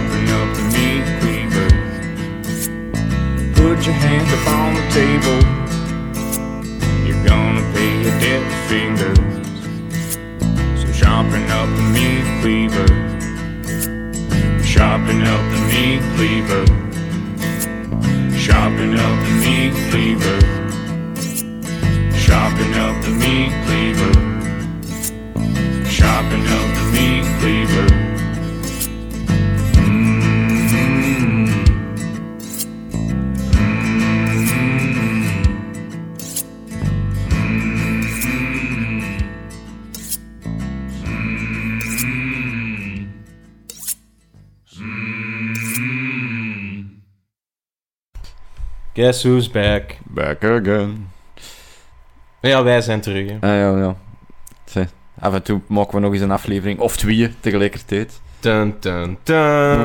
company fever. Put your hand up on the table. You're gonna pay your debt finger. So sharpen up the meat cleaver. Sharpen up the meat cleaver. Sharpen up the meat cleaver. Sharpen up the meat cleaver. Sharpen up the meat cleaver. Guess who's back? Back again. Ja, wij zijn terug. Hè. Ah, ja, ja. Tja, Af en toe maken we nog eens een aflevering of twee tegelijkertijd. Dun, dun, dun.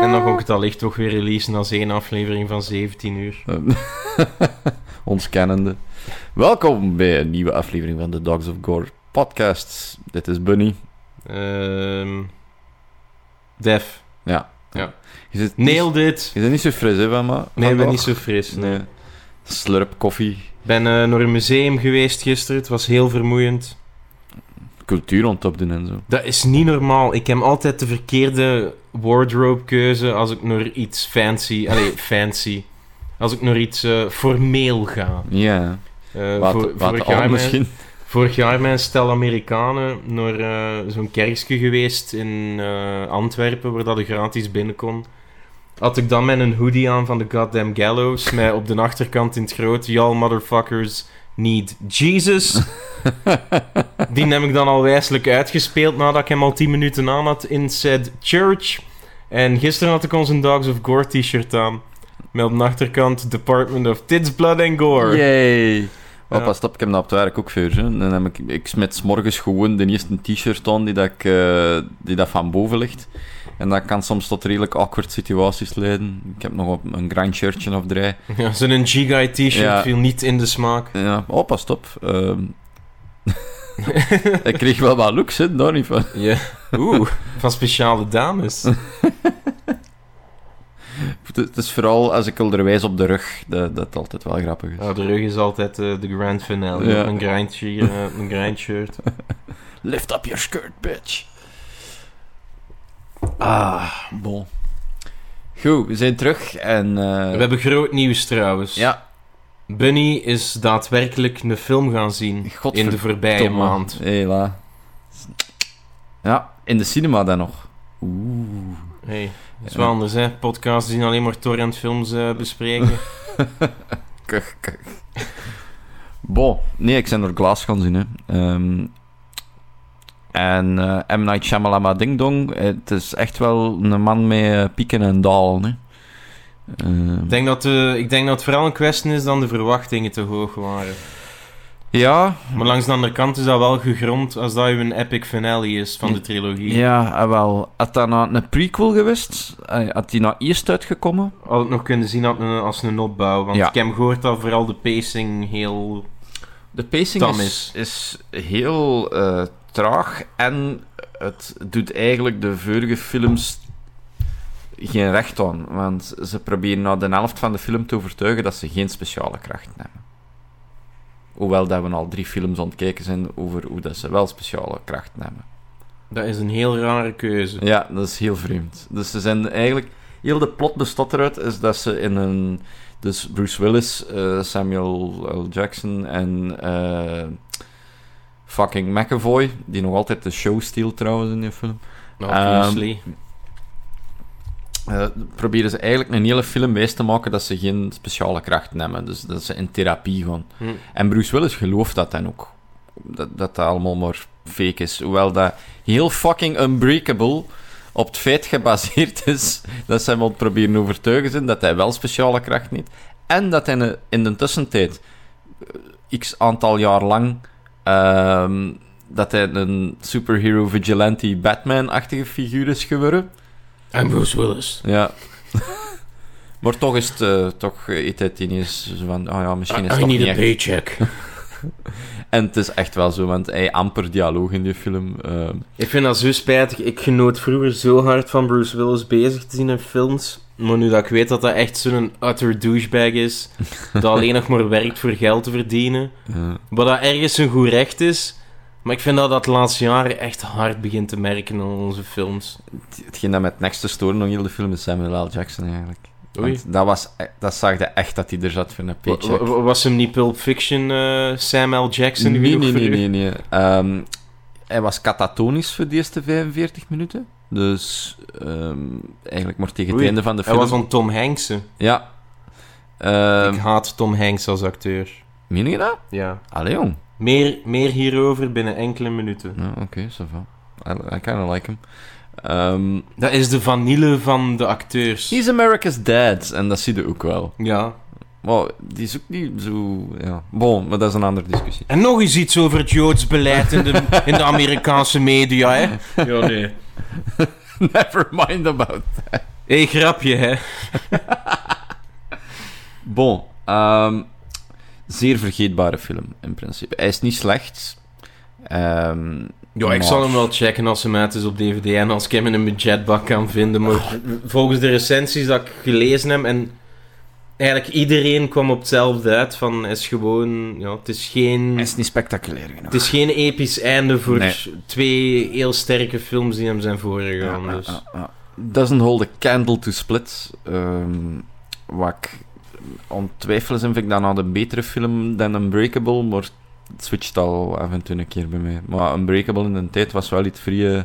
En dan kon ik het allicht toch weer releasen als één aflevering van 17 uur. Eh, Ons kennende. Welkom bij een nieuwe aflevering van de Dogs of Gore podcast. Dit is Bunny. Ehm Def, Je zit, nailed it! Je zit niet zo fris, hè, van ma- Nee, ik ben vandaag? niet zo fris. Ik Nee. Slurp koffie. ben eh, naar een museum geweest gisteren, het was heel vermoeiend. Cultuur ontop doen en zo. Dat is niet normaal. Ik heb altijd de verkeerde wardrobe keuze als ik naar iets fancy... Allee, fancy. Als ik naar iets eh, formeel ga. Ja. Eh, Wat, voor- wat vorig al jaar mijn- misschien. Vorig jaar mijn stel Amerikanen naar eh, zo'n kerkje geweest in eh, Antwerpen, waar dat ik gratis binnen kon. Had ik dan met een hoodie aan van de Goddamn Gallows, met op de achterkant in het groot, y'all motherfuckers need Jesus. Die heb ik dan al wijselijk uitgespeeld nadat ik hem al 10 minuten aan had in said church. En gisteren had ik ons een Dogs of Gore t-shirt aan, met op de achterkant Department of Tits, Blood and Gore. Yay. Oh, Ja. pas op, ik heb dat op het werk ook voor. Hè. Dan heb ik, ik smet 's morgens gewoon de eerste t-shirt aan die dat, ik, eh, die dat van boven ligt. En dat kan soms tot redelijk awkward situaties leiden. Ik heb nog op een grand shirtje of drie. Ja, zo'n G-Guy t-shirt Ja. viel niet in de smaak. Ja, oh, pas op. ehm. ik kreeg wel wat looks, hè, daar niet van. Ja. Oeh, van speciale dames. Het het is vooral als ik onderwijs op de rug, dat, dat altijd wel grappig is. Nou, de rug is altijd eh, de grand finale. Ja. Een, grind shirt, eh, een grind shirt. Lift up your skirt, bitch. Ah, bon. Goed, we zijn terug en... eh, We hebben groot nieuws trouwens. Ja, Bunny is daadwerkelijk een film gaan zien in de godverdomme. voorbije maand. Hela. Ja, in de cinema dan nog. Oeh. Hey, dat is wel anders, hè? Podcasts die alleen maar torrentfilms eh bespreken. Kuch, kuch. Bon. Nee, ik ben door Glaas gaan zien, hè. Ehm, en eh, M. Night Shyamalama Ding Dong, het is echt wel een man met eh, pieken en dalen, hè. Ehm, ik, denk dat de, ik denk dat het vooral een kwestie is dat de verwachtingen te hoog waren. ja, Maar langs de andere kant is dat wel gegrond als dat je een epic finale is van de trilogie. Ja, eh, wel. Had dat nou een prequel geweest? Eh, Had die nou eerst uitgekomen? had het nog kunnen zien als een, als een opbouw. Want Ja. ik heb gehoord dat vooral de pacing heel... De pacing Tam is, is heel eh, traag en het doet eigenlijk de vorige films geen recht aan. Want ze proberen na de helft van de film te overtuigen dat ze geen speciale krachten hebben. Hoewel dat we al drie films aan het kijken zijn over hoe dat ze wel speciale krachten hebben. Dat is een heel rare keuze. Ja, dat is heel vreemd. Dus ze zijn eigenlijk... Heel de plot bestaat eruit, is dat ze in een... Dus Bruce Willis, eh, Samuel L. Jackson en eh, fucking McAvoy, die nog altijd de show steelt trouwens in die film, Obviously. eh, proberen ze eigenlijk een hele film wijs te maken dat ze geen speciale krachten hebben. Dus dat ze in therapie gaan. Hm. En Bruce Willis gelooft dat dan ook. Dat, dat dat allemaal maar fake is. Hoewel dat heel fucking unbreakable op het feit gebaseerd is dat ze hem al proberen overtuigen zijn dat hij wel speciale kracht niet. En dat hij in de- in de tussentijd, eh, x aantal jaar lang, ehm, dat hij een superhero vigilante Batman-achtige figuur is geworden. En Bruce Willis. Ja. Ah, maar toch is het, eh, toch eh, eet hij het ineens zo van, oh ja, misschien is het toch niet echt paycheck. En het is echt wel zo, want hij amper dialoog in die film. eh, Ik vind dat zo spijtig. Ik genoot vroeger zo hard van Bruce Willis bezig te zien in films. Maar nu dat ik weet dat dat echt zo'n utter douchebag is, dat alleen nog maar werkt voor geld te verdienen. eh. Wat dat ergens een goed recht is. Maar ik vind dat dat de laatste jaren echt hard begint te merken in onze films. hetgeen dat me het nekste storen nog heel de film is Samuel L. Jackson eigenlijk. Oei. Want dat, was, e- dat zag je echt dat hij er zat voor een Wa- paycheck. wa- was hem niet Pulp Fiction eh, Sam L. Jackson? Nee, nee, genoeg nee, voor nee. u? nee. Ehm, hij was catatonisch voor de eerste 45 minuten. Dus ehm, eigenlijk maar tegen Oei. het einde van de Hij film. was van Tom Hanks. hè. Ja. Ehm ik haat Tom Hanks als acteur. meen je dat? Ja. Allee, jong. Meer, meer hierover binnen enkele minuten. Ja, Oké, ça va. I, I kind of like him. Ehm, Dat is de vanille van de acteurs. he's America's dad. En dat zie je ook wel. Ja. Maar die is ook niet zo... Ja. Bon, maar dat is een andere discussie. En nog eens iets over het Joods beleid in de, in de Amerikaanse media, hè? Ja, nee. Never mind about. Hé, grapje, hè? Bon, ehm, zeer vergeetbare film in principe. Hij is niet slecht. Ehm, Ja, ik maar- zal hem wel checken als hem uit is op DVD en als ik hem in een budgetbak kan vinden. Maar volgens de recensies dat ik gelezen heb en eigenlijk iedereen kwam op hetzelfde uit van is gewoon, ja, het is geen, Hij is niet spectaculair genoeg. het is geen episch einde voor Nee. twee heel sterke films die hem zijn Ja, voorgegaan. ja, dus. ja, ja. Doesn't hold a candle to split. Ehm wat ik aan het twijfelen zijn, vind ik dat nou een betere film dan Unbreakable, maar het switcht al af en toe een keer bij mij. Maar Unbreakable in de tijd was wel iets vrij eh,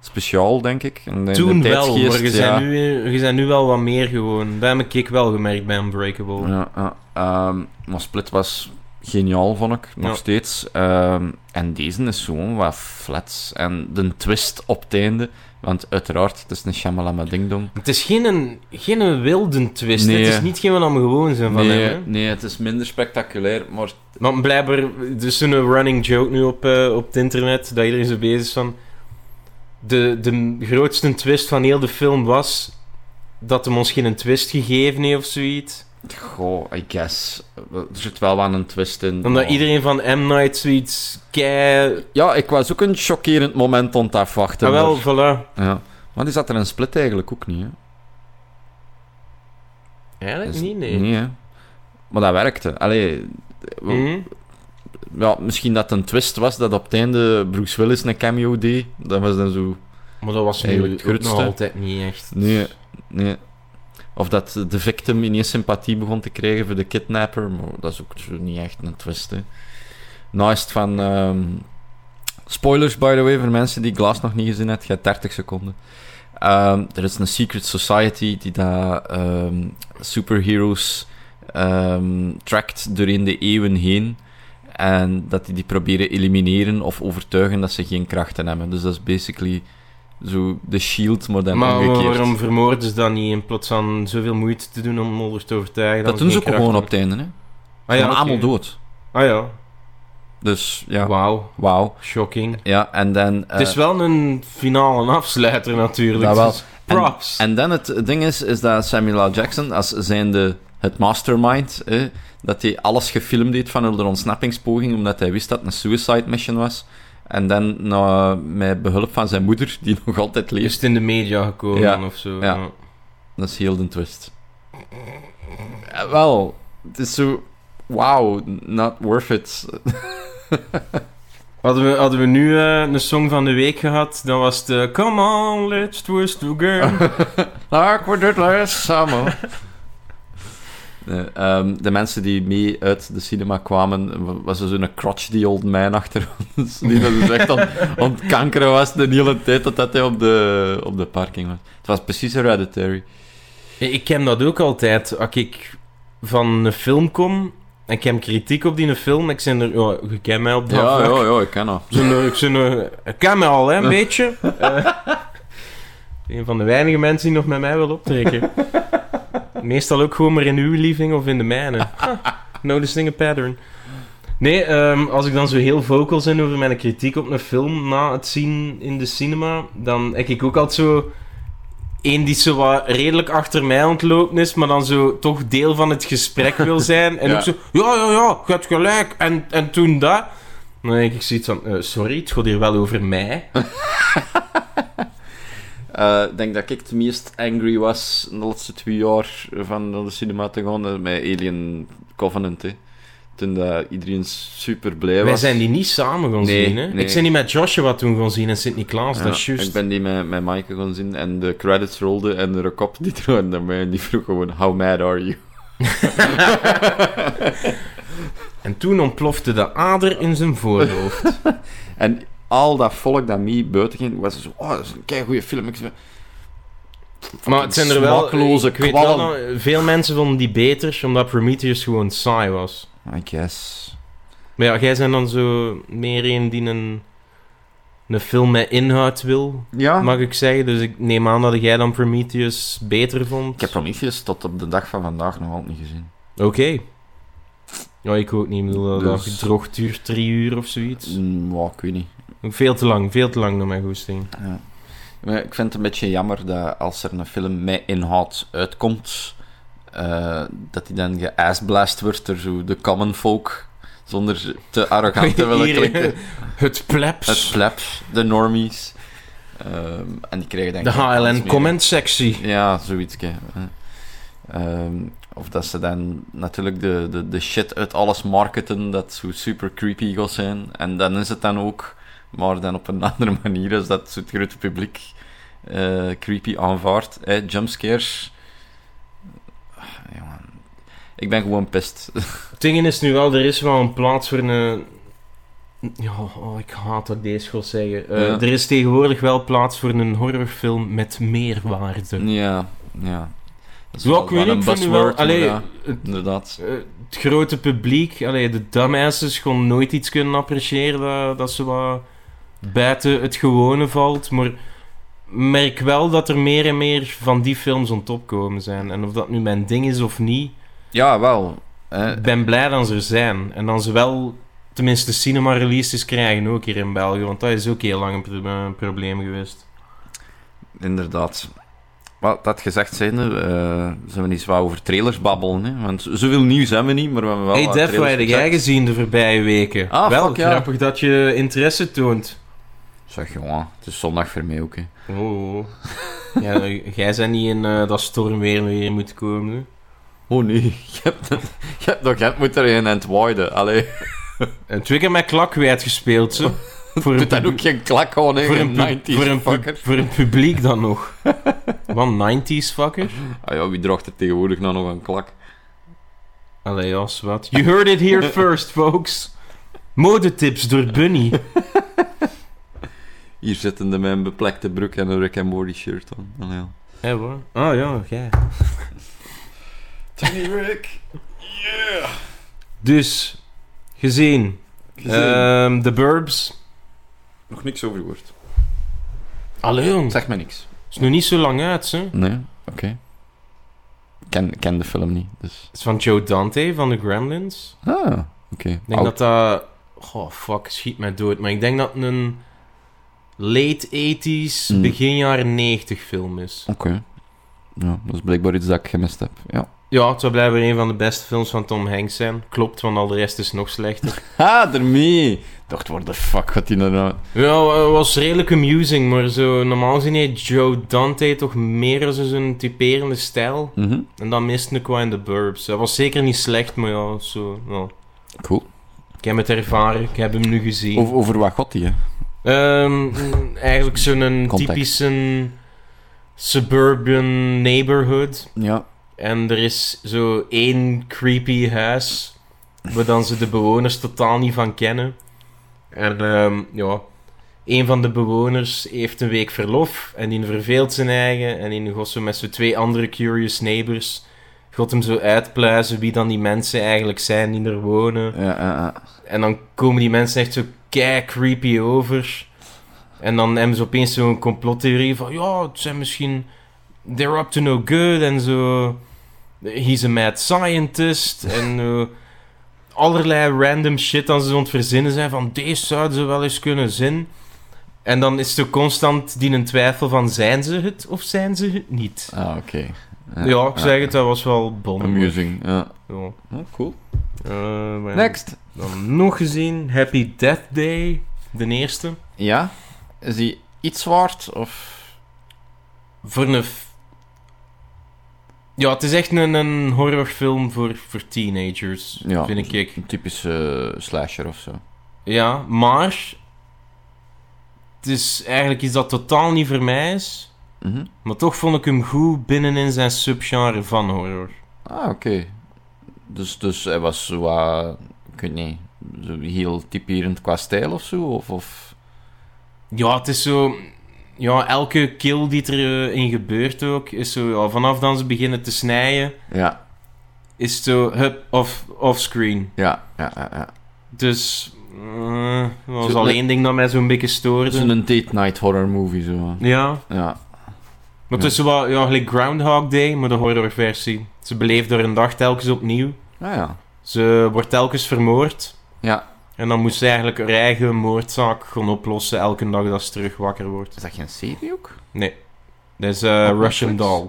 speciaal, denk ik. En in de Toen wel, tijdsgeest, maar je ja. zijn, nu, je zijn nu wel wat meer gewoon. Dat heb ik wel gemerkt bij Unbreakable. Ja, ja. Ehm, maar Split was geniaal, vond ik. Nog Ja. steeds. Ehm, en deze is gewoon wat flats. En de twist op het einde... Want uiteraard, het is een Shyamalama Ding Dong. Het is geen, een- geen een wilde twist. Nee. Het is niet geen wat we gewoon zijn van hem. Nee, hè. nee, het is minder spectaculair, maar... Maar blijkbaar, er is zo'n running joke nu op, eh, op het internet, dat iedereen zo bezig is van... De, de grootste twist van heel de film was dat hem ons geen twist gegeven heeft of zoiets. Goh, I guess. Er zit wel aan een twist in. Omdat maar- iedereen van M. Night zoiets kei... Ja, ik was ook een chockerend moment aan het afwachten. Ah, wel, maar- voilà. Ja. Maar die zat er in Split eigenlijk ook niet, hè. Eigenlijk Dus- niet, nee. Nee, hè. Maar dat werkte. Allee... we- Mhm. Ja, misschien dat een twist was dat op het einde Bruce Willis een cameo deed. Dat was dan zo. Maar dat was nu Eigenlijk het ook nog grootste. altijd niet echt. Nee, nee. Of dat de victim ineens sympathie begon te krijgen voor de kidnapper. Maar dat is ook zo niet echt een twist. Hè. Naast van. ehm, spoilers, by the way, voor mensen die Glass nog niet gezien hebben. Je hebt 30 seconden. Ehm, er is een secret society die daar ehm, superheroes ehm trackt doorheen de eeuwen heen. En dat die die proberen elimineren of overtuigen dat ze geen krachten hebben. Dus dat is basically zo de shield, maar dan maar omgekeerd. waarom vermoorden ze dat niet in plaats van zoveel moeite te doen om ons te overtuigen? Dat ze doen ze ook geen gewoon op kracht het einde, hè. hebben? maar Ah ja, allemaal oké. dood. Ah ja, Dus, ja. Wauw. wauw. Shocking. Ja, en dan... eh, Het is wel een finale afsluiter natuurlijk. Dat wel. dus props. En dan het ding is, is dat Samuel L. Jackson, als zijnde het mastermind, eh, dat hij alles gefilmd heeft van de ontsnappingspoging, omdat hij wist dat het een suicide mission was. En dan nou, met behulp van zijn moeder, die nog altijd Is leeft. het in de media gekomen Ja, of zo? ja. Dat is heel de twist. Eh, wel, het is zo... Wow, not worth it. Hadden we, hadden we nu eh, een song van de week gehad, dan was het eh, Come on, let's twist together. Laat we dit les samen. Nee, ehm, de mensen die mee uit de cinema kwamen, wa- was dus er zo'n crotchety old man achter ons. Die dat dus echt aan, aan het kankeren was de hele tijd dat dat hij op de, op de parking was. Het was precies hereditary. ik ken dat ook altijd. Als ik van een film kom en ik heb kritiek op die film, ik zijn er... Oh, je kent mij op dat vlak. ja, ik ken dat. Ik ben, eh, Ik, ben, eh, ik ken mij al, hè, een beetje. Eh, een van de weinige mensen die nog met mij wil optrekken. Meestal ook gewoon maar in uw living of in de mijne. Huh, Noticing a pattern. Nee, ehm, als ik dan zo heel vocal ben over mijn kritiek op een film na het zien in de cinema, dan heb ik ook altijd zo Eén die zo wat redelijk achter mij ontlopen is, maar dan zo toch deel van het gesprek wil zijn. En Ja. ook zo, ja, ja, ja, je hebt gelijk. En, en toen dat. Dan denk ik zoiets van, eh, sorry, het gaat hier wel over mij. Eh, Ik denk dat ik het meest angry was de laatste twee jaar van naar de cinema te gaan eh, met Alien Covenant. Hè. Toen dat iedereen super blij Wij was. zijn die niet samen gaan Nee, zien, hè. nee. Ik ben die met Joshua toen gaan zien en Sint-Niklaas, Ja, dat is Ik juist. ben die met, met Maaike gaan zien en de credits rolden en er een kop die er naar mij en die vroeg gewoon: How mad are you? En toen ontplofte de ader in zijn voorhoofd. En al dat volk dat mee buiten ging, was zo: Oh, dat is een keigoede film. Ik zei, Maar het zijn er wel... smakeloze ik weet kwallen. wel dat veel mensen vonden die beter, omdat Prometheus gewoon saai was. I guess. Maar ja, jij bent dan zo meer een die een, een film met inhoud wil, Ja, mag ik zeggen. Dus ik neem aan dat jij dan Prometheus beter vond. ik heb Prometheus tot op de dag van vandaag nog altijd niet gezien. Oké. Ja, ik ook niet. Ik bedoel, dat Dus- dat gedrocht duurt drie uur of zoiets. Mm, ja, ik weet niet. Veel te lang, veel te lang naar mijn goesting. Ja. Maar ik vind het een beetje jammer dat als er een film met inhoud uitkomt, eh, dat die dan geassblast wordt door zo de common folk, zonder te arrogant te willen Hier, klinken. Het plebs. Het plebs, de normies. Ehm, en die krijgen denk de ik ook alles HLN mee. comment sectie. Ja, zoiets. hè. Ehm, of dat ze dan natuurlijk de, de, de shit uit alles marketen dat zo super creepy gaat zijn. En dan is het dan ook, maar dan op een andere manier als dat zo het grote publiek eh, creepy aanvaardt. hè, jumpscares. Ah, jongen. Ik ben gewoon pist. Het ding is nu wel, er is wel een plaats voor een... Ja, oh, ik haat dat ik deze wil zeggen. Eh, Ja. Er is tegenwoordig wel plaats voor een horrorfilm met meerwaarde. ja, ja. Dat Ja, ik weet niet, wel ik een vind nu wel... buzzword, maar Allee, ja, het, inderdaad. eh, het grote publiek, allee, de dumbasses, gewoon nooit iets kunnen appreciëren dat, dat ze wat buiten het gewone valt. Maar merk wel dat er meer en meer van die films aan het opkomen zijn. En of dat nu mijn ding is of niet, Ja, wel. hè. ik ben blij dat ze er zijn. En dan ze wel... Tenminste, cinema-releases krijgen ook hier in België, want dat is ook heel lang een, pro- een probleem geweest. Inderdaad. Wat dat gezegd zijnde, eh zijn we niet zwaar over trailers babbelen. Hè? Want zoveel nieuws hebben we niet, maar we hebben wel hey wat Def, wat trailers heb jij gezien. gezien de voorbije weken? Ah, wel, fuck ja. grappig dat je interesse toont. Zeg, jongen, het is zondag voor mij ook. Hè. Oh. ja, jij bent niet in eh, dat stormweer weer moet komen. hè. Oh nee, je hebt, je hebt nog het moet erin en het waaiden. Allee, En twee keer met klak gespeeld, ze. Voor doet dat pub- ook geen klak gewoon hè, voor in een, pub- 90 voor, een pub- fucker. voor een publiek dan nog. Want 90s fucker. Ah ja, wie draagt er tegenwoordig nou nog een klak? Allee, als wat. You heard it here first, folks. Modetips door Bunny. Hier zitten de met een beplekte broek en een Rick and Morty shirt aan. Allee, ja. Hé, hoor. Oh ja, jij. Tiny Rick! Yeah! Dus, gezien. ehm, The Burbs. nog niks over gehoord. Allee, jong. Zeg me niks. is nog niet zo lang uit, hè. Nee, oké. Ik ken, ken de film niet, dus... Het is van Joe Dante van de Gremlins. Ah, oké. Ik denk Oud. dat dat... Goh, fuck, schiet mij dood. Maar ik denk dat het een late 80s, Mm. begin jaren 90 film is. Oké. Ja, dat is blijkbaar iets dat ik gemist heb, ja. Ja, het zou blijkbaar een van de beste films van Tom Hanks zijn. Klopt, want al de rest is nog slechter. Ha, ermee! Dacht, waar de fuck gaat die nou... nou- ja, het was redelijk amusing, maar zo, normaal gezien heeft Joe Dante toch meer als een typerende stijl. Mhm, En dan miste ik wel in de burbs. Dat was zeker niet slecht, maar ja, zo... ja. Cool. Ik heb het ervaren, ik heb hem nu gezien. Over, over wat gaat die, hè? Ehm, mm, eigenlijk zo'n Context. typische suburban neighborhood. Ja. En er is zo één creepy huis waar dan ze de bewoners totaal niet van kennen. En ehm, ja, een van de bewoners heeft een week verlof en die verveelt zijn eigen. En die gaat zo met zijn twee andere curious neighbors gaat hem zo uitpluizen wie dan die mensen eigenlijk zijn die er wonen. Ja, ja, ja. En dan komen die mensen echt zo kei creepy over. En dan hebben ze opeens zo'n complottheorie van... Ja, het zijn misschien... They're up to no good en zo... He's a mad scientist. en eh, allerlei random shit dat ze aan het verzinnen zijn van... Deze zouden ze wel eens kunnen zien. En dan is er constant die een twijfel van zijn ze het of zijn ze het niet. Ah, oké. Ja, ik zeg het, dat was wel bon. Amusing, ja. Ja. Oh, cool. Eh, maar ja, Next. Dan nog gezien Happy Death Day, de eerste. Ja? Is die iets waard, of... Voor een... f- Ja, het is echt een, een horrorfilm voor, voor teenagers, Ja. vind ik. Een typische eh, slasher of zo. Ja, maar... Het is eigenlijk iets dat totaal niet voor mij is. Mhm. Maar toch vond ik hem goed binnenin zijn subgenre van horror. Ah, oké. Dus, dus hij was zo wat... Ik weet niet. Zo heel typerend qua stijl of zo, of... of... Ja, het is zo... Ja, elke kill die erin gebeurt ook, is zo... ja, vanaf dan ze beginnen te snijden, Ja, is het zo... Hup, off, offscreen. ja, ja, ja. ja. Dus... eh, dat was Zo- al één ding dat mij zo'n beetje Het is stoorde. een date night horror movie, zo. Ja. Ja. Maar Ja. het is zo wat... Ja, gelijk Groundhog Day, maar de horrorversie. Ze beleeft er een dag telkens opnieuw. Ah ja. Ze wordt telkens vermoord. Ja. En dan moet ze eigenlijk haar eigen moordzaak gaan oplossen elke dag dat ze terug wakker wordt. Is dat geen serie ook? Dat is eh, Op Russian Oh, Netflix? Doll.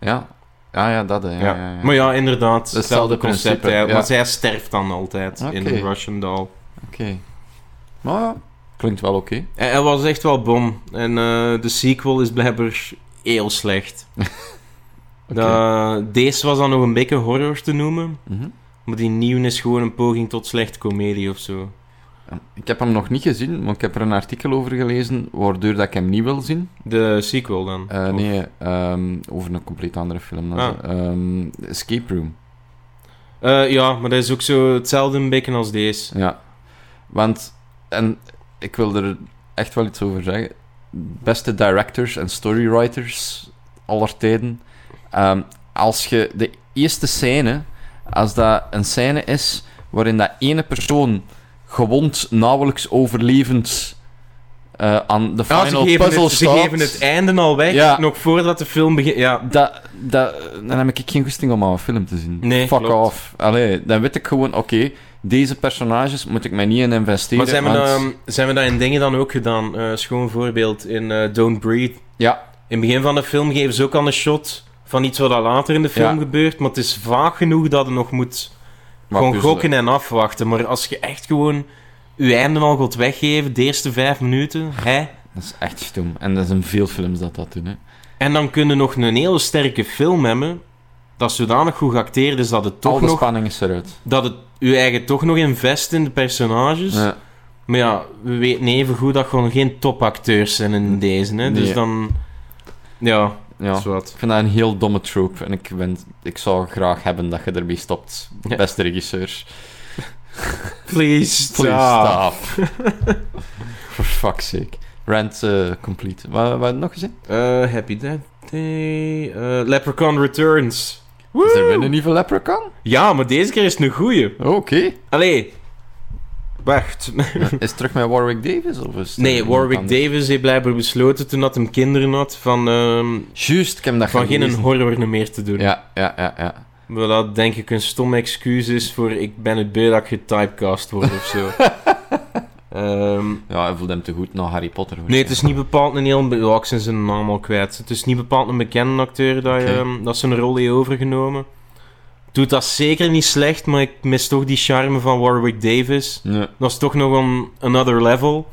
Ja. Ah, Ja, ja, dat, hè. Ja, Ja. ja, ja. Maar ja, inderdaad. is hetzelfde Hetzelfde concept. principe, hè, ja. Want zij sterft dan altijd in Oké. een Russian Doll. Oké. Maar ja, klinkt wel oké. Hij, hij was echt wel bom. En eh, de sequel is blijkbaar heel slecht. Oké. Dat- deze was dan nog een beetje horror te noemen. Mhm. Maar die nieuwe is gewoon een poging tot slechte komedie of zo. Ik heb hem nog niet gezien, maar ik heb er een artikel over gelezen, waardoor dat ik hem niet wil zien. De sequel dan? Eh, Of- nee, ehm, over een compleet andere film. dan Ah. zo. Ehm, Escape Room. Eh, ja, maar dat is ook zo hetzelfde een beetje als deze. Ja. Want, en ik wil er echt wel iets over zeggen. Beste directors en storywriters aller tijden. ehm, als je de eerste scène, als dat een scène is waarin dat ene persoon gewond, nauwelijks overlevend eh, aan de Ja, ze, final geven puzzle het, ze staat. geven het einde al weg, Ja. nog voordat de film begint. Ja, Dat, dat, dan heb ik geen goesting om aan een film te zien. Nee, Fuck klopt. off. Allee, dan weet ik gewoon, oké, deze personages moet ik mij niet in investeren. maar ehm, zijn we, want- dat, zijn we dat in dingen dan ook gedaan? Eh schoon voorbeeld in eh, Don't Breathe. Ja. In het begin van de film geven ze ook al een shot van iets wat al later in de film Ja. gebeurt, maar het is vaag genoeg dat je nog moet Maar gewoon puzzelen. gokken en afwachten. Maar als je echt gewoon je einde al gaat weggeven, de eerste vijf minuten, hè, Dat is echt stom. En dat zijn veel films dat dat doen. Hè. en dan kun je nog een hele sterke film hebben, dat zodanig goed geacteerd is dat het Al toch de nog... spanning is eruit. Dat het je eigen toch nog invest in de personages. Ja. Maar ja, we weten even goed dat gewoon geen topacteurs zijn in deze. Hè? Dus Nee. dan. Ja, ja. is wat. Ik vind dat een heel domme trope. En ik, ben, ik zou graag hebben dat je ermee stopt. Ja. Beste regisseur. Please, Please stop. stop. For fuck's sake. Rant eh, complete. Wat hebben we nog gezien? Eh, happy Death Day. eh, Leprechaun Returns. Is er weer een nieuwe leprechaun? Oh, Ja, maar deze keer is het een goeie. Oké. Allee. Wacht. Is het terug met Warwick Davis? Of is het Nee, iemand Warwick anders? Davis heeft blijkbaar besloten toen dat hem kinderen had van, ehm, Juist, ik heb dat van geen gelezen. horror meer te doen. Ja, ja, ja, ja. Maar dat denk ik een stom excuus is voor ik ben het beu dat ik getypecast word of zo. Ehm, Ja, hij voelde hem te goed naar Harry Potter. nee, het is niet bepaald een heel... be- Ja, ik ben zijn naam al kwijt. Het is niet bepaald een bekende acteur dat, je, Oké. ehm, dat zijn rol heeft overgenomen. Doet dat zeker niet slecht, maar ik mis toch die charme van Warwick Davis. Nee. Dat is toch nog een another level.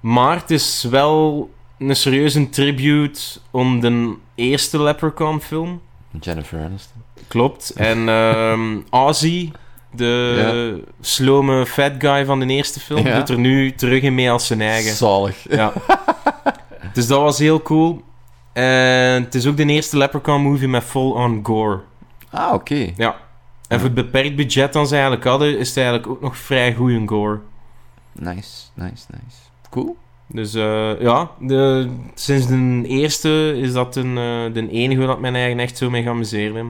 Maar het is wel een serieuze tribute om de eerste Leprechaun film. Jennifer Aniston. Klopt. En ehm Ozzy, de slome fat guy van de eerste film, Ja. doet er nu terug in mee als zijn eigen. Zalig. Ja. dus dat was heel cool. En het is ook de eerste Leprechaun movie met full-on gore. Ah, oké. En voor het beperkt budget dat ze eigenlijk hadden, is het eigenlijk ook nog vrij goed in gore. Nice, nice, nice. Cool. Dus eh, ja, de, sinds de eerste is dat een, eh, de enige dat mijn eigen echt zo mee geamuseerd heb.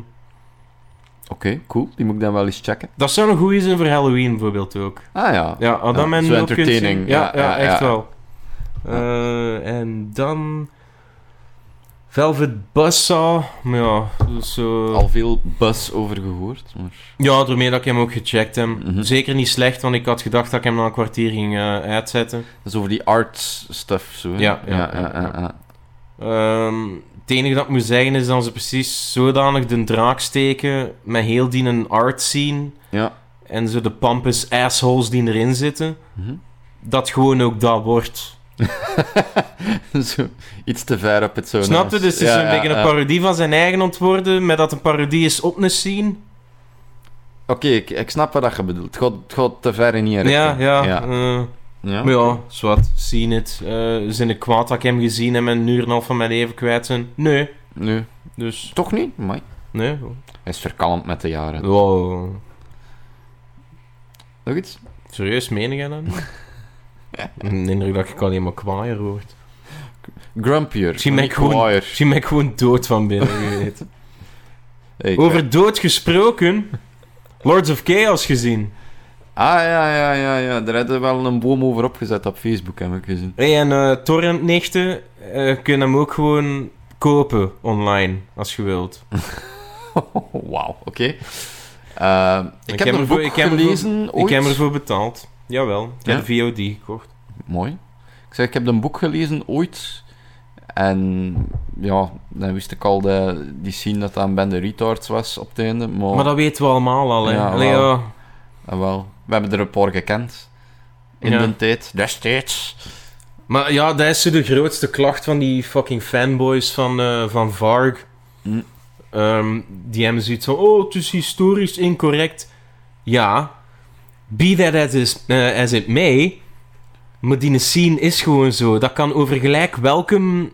Oké, cool. Die moet ik dan wel eens checken. Dat zou een goeie zijn voor Halloween bijvoorbeeld ook. Ah ja. Ja, had Ja, dat men zo ook kunt entertaining. zien. Ja, Ja, ja, ja, echt ja. wel. Eh, en dan... Velvet Buzzsaw, maar ja, dus zo... Al veel buzz over gehoord. Maar... Ja, daarmee dat ik hem ook gecheckt heb. Mhm. Zeker niet slecht, want ik had gedacht dat ik hem na een kwartier ging eh, uitzetten. Dat is over die art stuff zo. hè? Ja, ja, ja, ja, ja, ja. ja. Ehm, het enige dat ik moet zeggen is dat ze precies zodanig de draak steken met heel die een art scene Ja. en zo de pampus assholes die erin zitten, Mhm. dat gewoon ook dat wordt. zo, iets te ver op het zo. Snap je? Dus het is een beetje een parodie van zijn eigen ontwoorden, met dat een parodie is op een scene. Oké, ik, ik snap wat dat je bedoelt. Het gaat- Het gaat te ver in hier. Ja, ja. Ja. eh, ja. Maar ja, zwart, zien het. Eh zijn ik kwaad dat ik hem gezien heb en een uur en een half van mijn leven kwijt zijn? Nee. Nee, Dus, toch niet? Amai. nee. Hij is verkalmd met de jaren. Wow. Nog iets? Serieus, meen jij dat niet? Ik indruk dat ik alleen maar kwaaier word. Grumpier. Misschien ben ik Niet gewoon- kwaaier. Misschien ben ik gewoon dood van binnen, wie weet. Hey, ik- Over dood gesproken... Lords of Chaos gezien. Ah, ja, ja, ja, ja. Daar hadden we wel een boom over opgezet op Facebook, heb ik gezien. Hey, en eh Torrent nichten eh kunnen hem ook gewoon kopen online, als je wilt. Oh, Wauw, oké. Ehm, ik, Ik heb heb een ervoor- boek ik heb ervoor- gelezen ooit. Ik heb ervoor betaald. Jawel, ik heb de VOD gekocht. Mooi. Ik zeg, ik heb een boek gelezen ooit. En ja, dan wist ik al de, die scene dat dat een bende retards was op het einde. Maar, Maar dat weten we allemaal al, hè. Oh. Ja, Allee, wel. ja. Ah, wel, we hebben er een paar gekend. In Ja. de tijd, destijds. Maar ja, dat is zo de grootste klacht van die fucking fanboys van, eh, van Varg. Hm. Ehm, die hebben zoiets van, oh, het is historisch incorrect. Ja, be that as, is, eh, as it may, maar die scene is gewoon zo. Dat kan over gelijk welke m-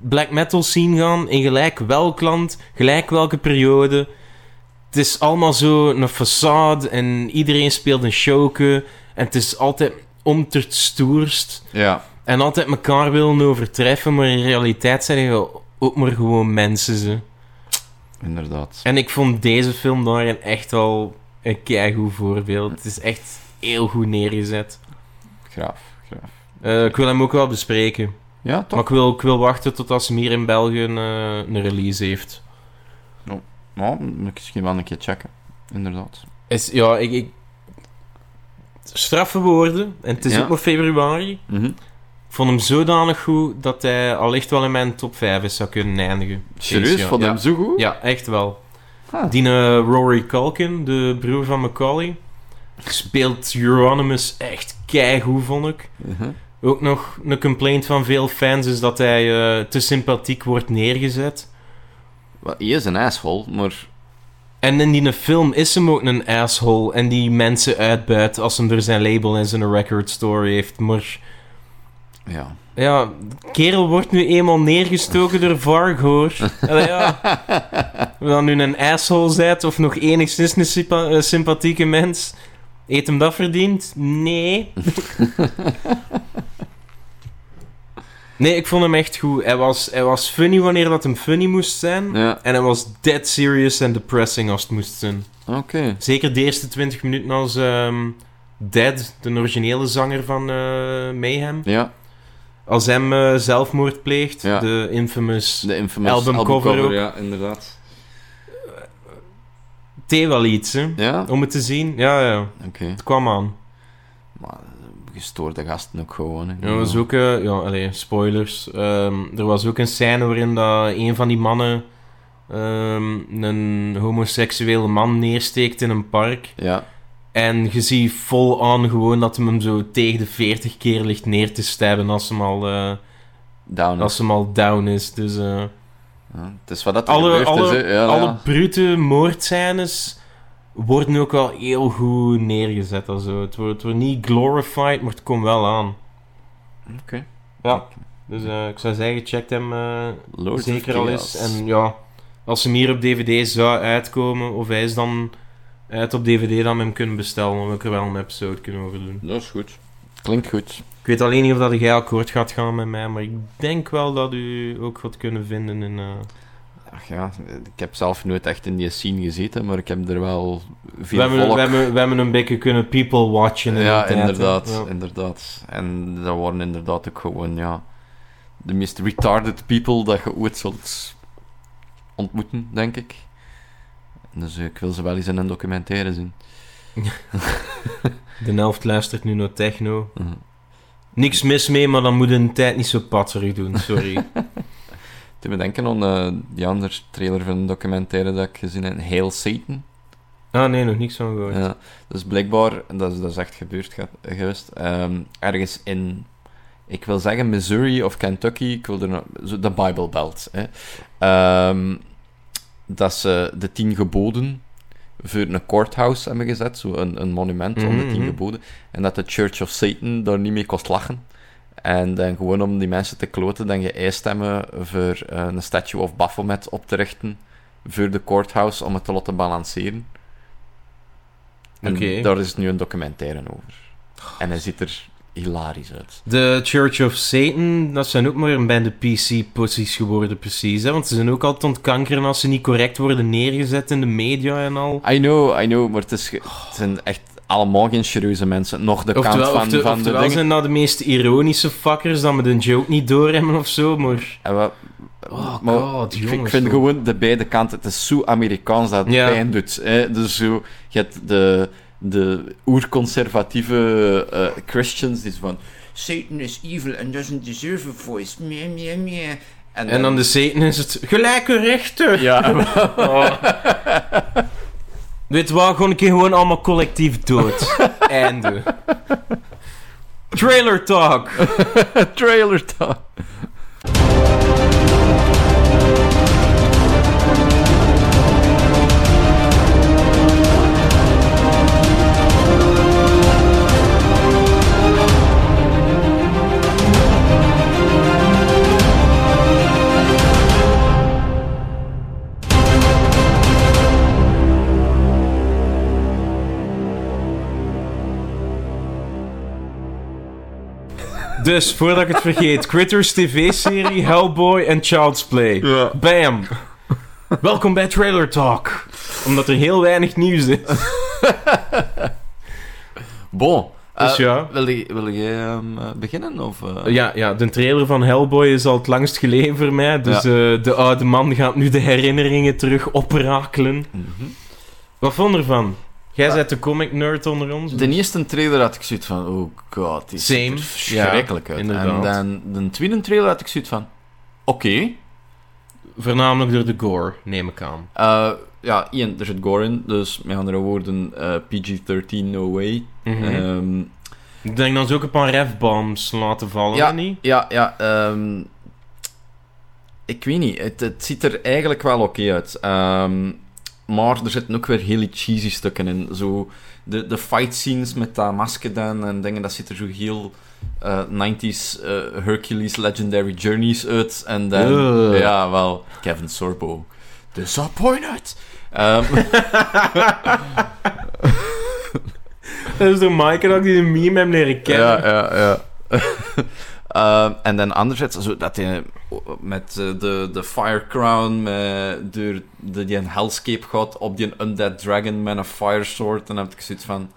black metal scene gaan, in gelijk welk land, gelijk welke periode. Het is allemaal zo een façade en iedereen speelt een showke. En het is altijd om te stoerst. Ja, En altijd elkaar willen overtreffen, maar in realiteit zijn je ook maar gewoon mensen. Ze. inderdaad. En ik vond deze film daarin echt al een keigoed voorbeeld. Het is echt heel goed neergezet. Graaf, graaf. Eh, ik wil hem ook wel bespreken. Ja, toch? Maar ik wil, ik wil wachten tot als hem hier in België een, eh, een release heeft. Ja, misschien wel een keer checken. Inderdaad. Is, ja, ik, ik... Straffe woorden. En het is Ja. ook nog februari. Mhm. Ik vond hem zodanig goed dat hij allicht wel in mijn top 5 is zou kunnen eindigen. Serieus, Deze, ja. vond Ja. hem zo goed? Ja, echt wel. Ah. Die eh, Rory Culkin, de broer van Macaulay, speelt Euronymous echt keigoed, vond ik. Mhm. Ook nog een complaint van veel fans is dat hij eh, te sympathiek wordt neergezet. Wel, Hij is een asshole, maar... En in die film is hem ook een asshole en die mensen uitbuit als hem door zijn label en zijn record store heeft. Maar Ja. ja, kerel wordt nu eenmaal neergestoken door Varg, hoor. Allee, ja. Of dan nu een asshole zet of nog enigszins een sypa- eh, sympathieke mens. Eet hem dat verdiend? Nee. nee, ik vond hem echt goed. Hij was, hij was funny wanneer dat hem funny moest zijn. Ja, En hij was dead serious en depressing als het moest zijn. oké. Zeker de eerste 20 minuten als ehm, Dead, de originele zanger van eh, Mayhem. Ja, Als hem eh, zelfmoord pleegt, Ja. de infamous de infamous Albumcover ook. Ja, inderdaad. T wel iets, hè? Ja? Om het te zien, ja, ja. Oké. Het kwam aan. Maar eh, gestoorde gasten ook gewoon. hè. Er was ook, eh, ja, allee, spoilers. Ehm, er was ook een scène waarin dat een van die mannen ehm, een homoseksuele man neersteekt in een park. Ja, En je ziet vol aan gewoon dat hem hem zo tegen de 40 keer ligt neer te stabben als hem al, eh, down. als hem al down is. Dus eh, Ja, het is wat dat er alle, gebeurd alle, is. hè. Ja, alle ja. brute moordscènes worden ook al heel goed neergezet. Also. Het, wordt, het wordt niet glorified, maar het komt wel aan. Oké. Oh, Ja. Dus eh, ik zou zeggen, check hem eh, Lord of zeker al eens. Chaos. En ja, als hem hier op DVD zou uitkomen, of hij is dan uit op DVD, dan we hem kunnen bestellen. Dan wil ik er wel een episode kunnen over doen. Dat is goed. Klinkt goed. Ik weet alleen niet of dat jij akkoord gaat gaan met mij, maar ik denk wel dat u ook gaat kunnen vinden in... eh, Ach ja, ik heb zelf nooit echt in die scene gezeten, maar ik heb er wel We veel hebben, volk... we, hebben, we hebben een beetje kunnen people watchen. in ja, de tijd, hè. inderdaad, Ja. inderdaad. En dat waren inderdaad ook gewoon, ja... de meest retarded people dat je ooit zult ontmoeten, denk ik. Dus eh, ik wil ze wel eens in een documentaire zien. De helft luistert nu naar techno. Mhm. Niks mis mee, maar dan moet je een tijd niet zo patserig doen, sorry. Te bedenken aan eh, die andere trailer van een documentaire dat ik gezien heb, Hail Satan. ah nee, nog niks van gehoord. Ja, dus blijkbaar, dat is, dat is echt gebeurd ge- geweest, ehm, ergens in, ik wil zeggen Missouri of Kentucky, ik wil er nog- zo de Bible Belt, hè, Ehm, dat ze de tien geboden voor een courthouse hebben gezet, zo een, een monument om de Mhm, tien mhm. geboden, en dat de Church of Satan daar niet mee kost lachen. En dan gewoon om die mensen te kloten, dan geëist hebben voor eh, een statue of Baphomet op te richten voor de courthouse om het te laten balanceren. En Oké. daar is nu een documentaire over. En hij ziet er hilarisch uit. De Church of Satan, dat zijn ook maar een bende PC-pussies geworden, precies. Hè? Want ze zijn ook altijd ontkankeren als ze niet correct worden neergezet in de media en al. I know, I know, maar het, is ge- het zijn echt allemaal geen serieuze mensen. Nog de kant Oftewel, van, ofte- van de oftewel dingen. zijn dat de meest ironische fuckers dat met een joke niet doorhebben of zo, maar... En wat- Oh maar god, ik, ik jongens, vind toch. gewoon de beide kanten, het is zo Amerikaans dat het Ja. pijn doet. Hè? Dus zo, je hebt de, de oerconservatieve eh, Christians die zo van... Satan is evil and doesn't deserve a voice. Meh, meh, meh. En dan de Satan is het gelijke rechten. Ja, Oh. Weet waar, gewoon een keer gewoon allemaal collectief dood. Einde. Trailer talk. trailer talk. Dus, voordat ik het vergeet, Critters TV-serie, Hellboy en Child's Play. Ja. Bam. Welkom bij Trailer Talk. Omdat er heel weinig nieuws is. Bon. Dus Eh, ja. Wil je, wil je ehm, eh, beginnen? Of, eh? Ja, ja, de trailer van Hellboy is al het langst geleden voor mij. Dus eh, de oude man gaat nu de herinneringen terug oprakelen. Mhm. Wat vond je ervan? Jij bent de comic nerd onder ons. De eerste trailer had ik zoiets van, oh god, die ziet Same. er verschrikkelijk Ja, uit. En inderdaad. dan de tweede trailer had ik zoiets van, oké. Voornamelijk door de gore, neem ik aan. Eh, ja, Ian, er zit gore in, dus met andere woorden, eh, PG-13, no way. Mhm. Ehm, Eh, Ik denk dat ze ook een paar refbombs laten vallen, Ja. niet? ja, ja, ehm, ik weet niet, het, het ziet er eigenlijk wel oké uit. Ehm, maar er zitten ook weer hele cheesy stukken in. Zo, de, de fight scenes met dat masker dan en dingen, dat ziet er zo heel eh, 90s eh, Hercules Legendary Journeys uit. En dan, Ugh. ja, wel, Kevin Sorbo. Disappointed! Ehm Dat is door Mike en ook die een meme hem leren kennen. Ja, ja, ja. Ehm, en dan anderzijds, zo dat hij met eh, de, de Fire Crown, met, door de, die een Hellscape gaat op die Undead Dragon met een Fire Sword, dan heb ik zoiets van...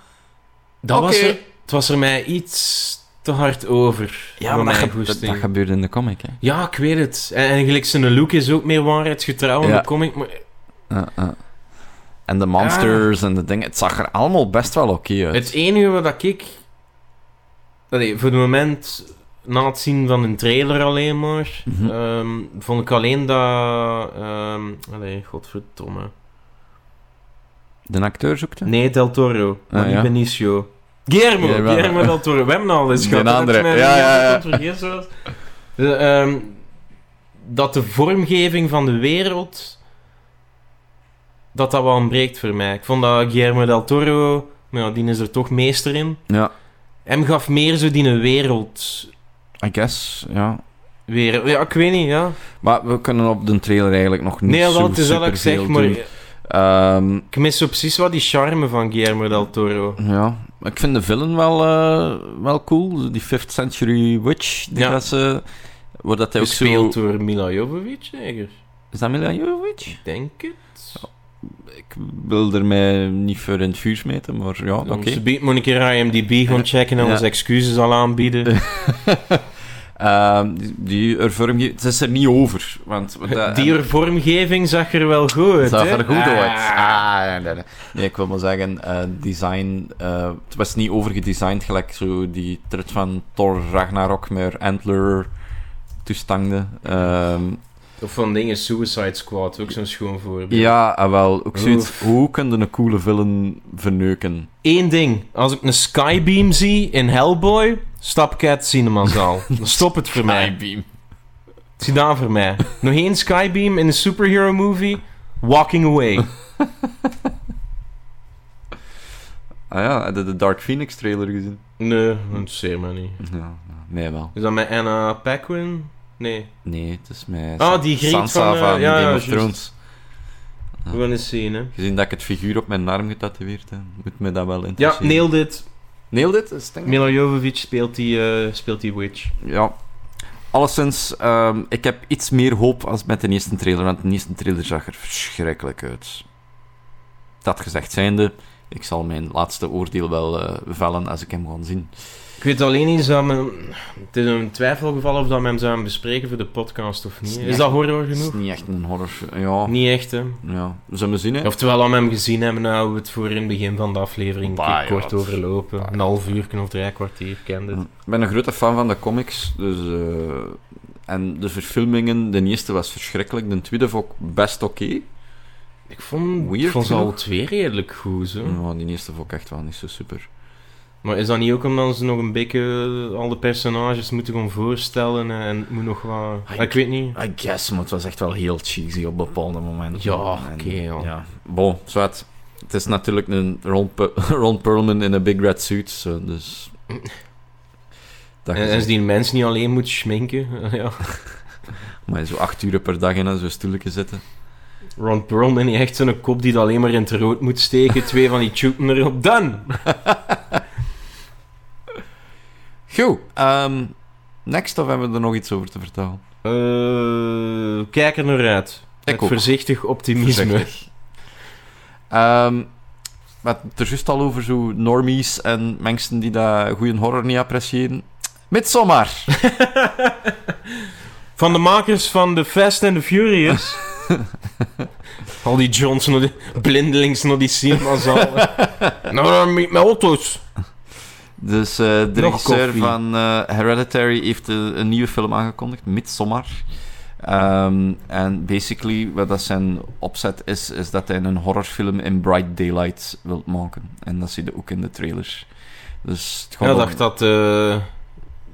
Dat was Oké. er, het was er mij iets te hard over. voor mijn goesting. gebeurde in de comic, hè. Ja, ik weet het. En, en gelijk zijn look is ook meer waarheidsgetrouw in Ja. de comic. Maar En de monsters en de dingen, het zag er allemaal best wel oké uit. het enige wat ik... Allee, voor het moment, na het zien van een trailer alleen maar, Mhm. ehm, vond ik alleen dat... ehm allee, godverdomme. De acteur zoekte? Nee, Del Toro. Maar Ah, niet ja. Benicio. Guillermo, Guillermo. Guillermo Del Toro. We hebben al eens Die gehad. hè, andere. dat je mij Ja, niet ja, ja. had vergeten was. De, ehm, dat de vormgeving van de wereld... Dat dat wel ontbreekt voor mij. Ik vond dat Guillermo Del Toro... Nou, die is er toch meester in. Ja, Hem gaf meer zo die een wereld... I guess, ja. Wereld. Ja, ik weet niet, ja. Maar we kunnen op de trailer eigenlijk nog niet Nee, zo wel, het is wel dat ik zeg, superveel maar... doen. Ehm, Ik mis zo precies wat die charme van Guillermo Del Toro. Ja, maar ik vind de villain wel, eh, wel cool. Die 5th Century Witch, die Ja. dat ze... Waar dat hij ook zo... Gespeeld door Mila Jovovich, eigenlijk. Is dat Mila Jovovich? Ik denk het. Ik wil er mij niet voor in het vuur smeten, maar ja, oké. Oké. Ze biedt moet ik hier IMDb gaan checken en Ja. onze excuses al aanbieden. Ehm, die, die er vorm ge- Het is er niet over. Want, want eh, dat- Diervormgeving zag er wel goed uit. Het zag hè? er goed Ah. uit. Ah, nee, nee, nee. Nee, ik wil maar zeggen, eh, design... eh, het was niet overgedesigned, gelijk zo die trut van Thor Ragnarok met Antler toestanden. Ehm, Of van dingen Suicide Squad, ook zo'n schoon voorbeeld. ja, ah, wel, ook zoiets. Hoe kun je een coole villain verneuken? Eén ding. Als ik een skybeam zie in Hellboy, stap ik uit de cinemazaal. Dan stop het voor mij. beam. Zie daar voor mij. Nog één skybeam in een superhero movie, walking away. Ah ja, had je de Dark Phoenix trailer gezien? Nee, dat interesseert me niet. Ja, nee wel. Is dat met Anna Paquin? Nee. Nee, het is met Ah, die griet Sansa van, eh, ja, Game ja, of juist. Thrones. We gaan eens zien, hè. Gezien dat ik het figuur op mijn arm getatoeëerd heb, moet me dat wel Ja, interesseren. nailed it. Neel dit? Is het Mila Jovovich speelt die, eh, speelt die witch. Ja. Alleszins, ehm, ik heb iets meer hoop als met de eerste trailer, want de eerste trailer zag er verschrikkelijk uit. Dat gezegd zijnde, ik zal mijn laatste oordeel wel eh, vellen als ik hem ga zien. Ik weet alleen niet, zou men- het is een twijfelgeval of dat we hem zouden bespreken voor de podcast of niet. Is niet Is echt- dat horror Het is genoeg? niet echt een horror. Ja, Niet echt, hè. ja. zullen we zien, hè? Oftewel, aan hem gezien hebben, nou, houden we het voor in het begin van de aflevering een Bah, keer ja, kort het- overlopen. bah. Hmm. Een half uur of drie kwartier, kende het. Ik ben een grote fan van de comics, dus... eh, en de verfilmingen, de eerste was verschrikkelijk, de tweede vond ik best oké. Ik vond, Weird ik vond ze alle genoeg. Hmm. twee redelijk goed, zo. Ja, die eerste vond ik echt wel niet zo super. Maar is dat niet ook omdat ze nog een beetje eh, al de personages moeten gaan voorstellen en- en het moet nog wat... Ah, Ah, ik weet niet. I guess, maar het was echt wel heel cheesy op bepaalde momenten. Ja, En- oké, ja. Bon, zwart. Het is natuurlijk een Ron, Pe- Ron Perlman in een big red suit, zo, dus... Dat En, en is- ze die mens niet alleen moet schminken. ja. Maar zo acht uur per dag in zo'n stoeltje zitten. Ron Perlman heeft echt zo'n kop die dat alleen maar in het rood moet steken. Twee van die tjoeten erop. Dan! Goed, ehm, next, of hebben we er nog iets over te vertellen? Eh, kijk er naar uit. Met ook. Voorzichtig optimisme. Voorzichtig. Ehm, we hadden het er juist al over zo normies en mensen die dat goede horror niet appreciëren. Midsommar! Van de makers van The Fast and the Furious. Al die Johns naar die, blindelings naar die cinemazaal. nou, dan met mijn auto's. Dus eh, de Nog regisseur koffie. van eh, Hereditary heeft eh, een nieuwe film aangekondigd, Midsommar. Ehm, en basically, wat dat zijn opzet is, is dat hij een horrorfilm in bright daylight wilt maken. En dat zie je ook in de trailer. Dus het Ja, gaat ik om- dacht dat eh,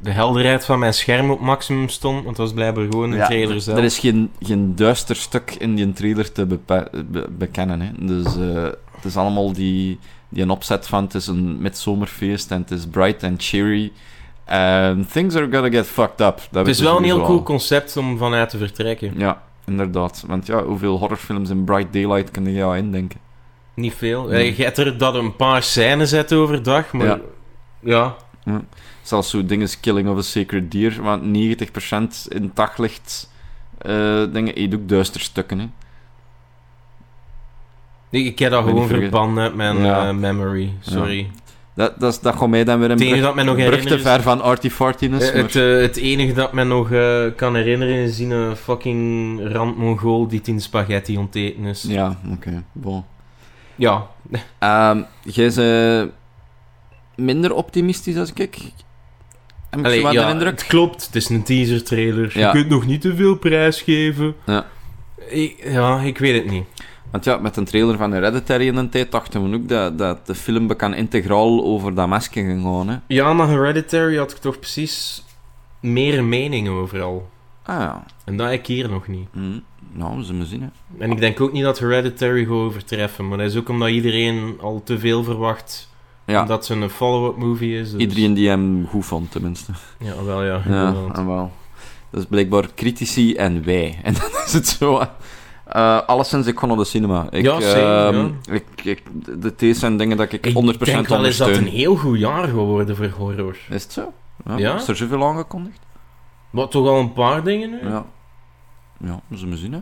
de helderheid van mijn scherm op maximum stond. Want dat was blijkbaar gewoon een Ja, trailer zelf. Er is geen, geen duister stuk in die trailer te bepe- be- bekennen. Hè. Dus eh, het is allemaal die, die een opzet van het is een midzomerfeest en het is bright and cheery. And things are gonna get fucked up. Dat Het is weten wel een ze heel sowieso cool al. concept om vanuit te vertrekken. Ja, inderdaad. Want ja, hoeveel horrorfilms in bright daylight kun je jou indenken? Niet veel. Nee. Eh, Je hebt er dat een paar scènes uit overdag, maar... Ja. Ja. Zelfs zo dingen als Killing of a Sacred Deer, want 90% in het daglicht eh dingen eet ook duister stukken. Hè. Ik, ik heb dat Ben gewoon niet vergeten. verbannen met mijn Ja. eh, memory. Sorry. Dat, dat, is- dat gaat mij dan weer een Het enige brug, dat mij nog brug te herinnert is- ver van Artie Fartiness. Eh, het, eh, het enige dat me nog eh, kan herinneren is die eh, fucking randmongool die tien spaghetti onteten is. Ja. Ja, oké. Bon. Ja. Ehm, jij is eh, minder optimistisch als ik. Heb ik Allee, zo wat ja, de indruk? Het klopt, het is een teaser trailer. Ja. Je kunt nog niet te veel prijs geven. Ja. Ik, ja, ik weet het niet. Want ja, met een trailer van Hereditary in een tijd dachten we ook dat, dat de film bekend integraal over dat masker ging gaan. Hè. Ja, na Hereditary had ik toch precies meer mening overal. Ah ja. En dat heb ik hier nog niet. Hm. Nou, we zullen zien. Hè. En ik denk ook niet dat Hereditary gaat overtreffen. Maar dat is ook omdat iedereen al te veel verwacht. Ja, Omdat het een follow-up movie is. dus- iedereen die hem goed vond, tenminste. Ja, wel ja. Ja, inderdaad. ah, wel. Dus blijkbaar critici en wij. En dan is het zo. eh, eh, alleszins, ik ga naar de cinema. Ik, Ja, same, ehm, ik, ik, de T's zijn dingen dat ik, 100% Ik denk wel eens dat het ondersteun. een heel goed jaar geworden voor horror. Is het zo? Ja. Ja? Is er zoveel aangekondigd? Maar toch al een paar dingen nu? Ja. Ja, we zullen zien, hè.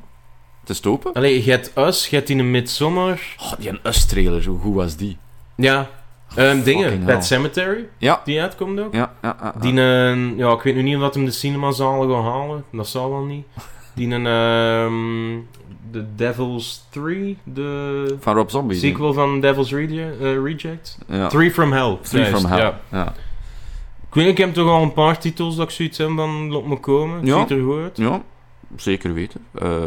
Het is open. Allee, je hebt Us, je hebt in een Midsommar. Oh, die een Us-trailer, hoe goed was die? Ja. Ehm, dingen, Fucking Pet hell. Cemetery, Ja. die uitkomt ook. Ja, ja, ja, ja. Die een, ja, ik weet nu niet of dat hem de cinemazalen gaan halen. Dat zal wel niet. Die een, ehm The Devil's 3, de Van Rob Zombie. sequel van Devil's Reje- eh, Reject. Ja. Three, 3 from Hell. from juist, Hell. ja. Ja. Ja. Ik weet niet, ik heb toch al een paar titels dat ik zoiets heb van, laat me komen. Het Ja. ziet er goed uit. zeker weten. Eh,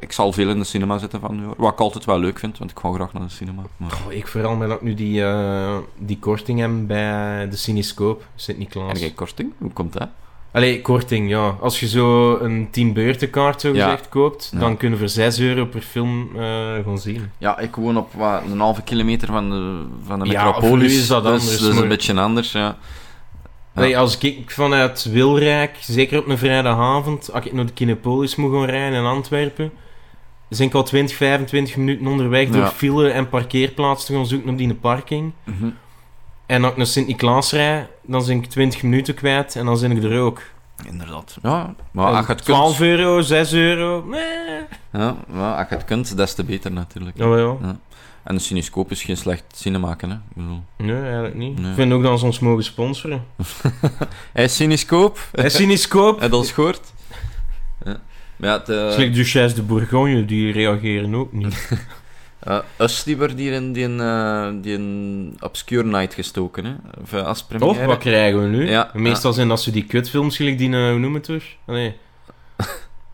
ik zal veel in de cinema zitten van nu. hoor. Wat ik altijd wel leuk vind, want ik ga graag naar de cinema. Maar... Goh, ik vooral met dat ik nu die, eh, die korting heb bij de Cinescope, En Sint-Niklaas. jij korting? Hoe komt dat? Allee, korting, ja. Als je zo een 10 beurtenkaart zo Ja. gezegd koopt, Ja. dan kunnen we voor 6 euro per film eh, gaan zien. Ja, ik woon op wat, een halve kilometer van de, van de Ja, voor metropolis. u is dat dus- anders, dus maar- een beetje anders, ja. Ja. Allee, als ik vanuit Wilrijk, zeker op een vrijdagavond, als ik naar de Kinepolis moet gaan rijden in Antwerpen, zijn ik al 20, 25 minuten onderweg door Ja. file en parkeerplaats te gaan zoeken op die parking. Mhm. En als ik naar Sint-Niklaas rijd, dan zijn ik 20 minuten kwijt en dan ben ik er ook. Inderdaad. Ja, maar als je het kunt... 12 euro, 6 euro. Nee. Ja, maar als je het kunt, des te beter natuurlijk. Nou ja. En de cinescoop is geen slecht cinema, hè. Ik bedoel... Nee, eigenlijk niet. Nee. Ik vind ook dat ze ons mogen sponsoren. Hey, cinescoop. En Cinescoop. Heb je al gehoord? Ja. Maar ja, het, eh, Slecht Duchesse de Bourgogne, die reageren ook niet. eh, Us die werd hier in die, een, eh, die een Obscure Night gestoken, hè. Of, eh, als première. Toch? Wat krijgen we nu? Ja, Meestal zijn dat ze die kutfilms gelijk die, eh, hoe noem het dus? Nee.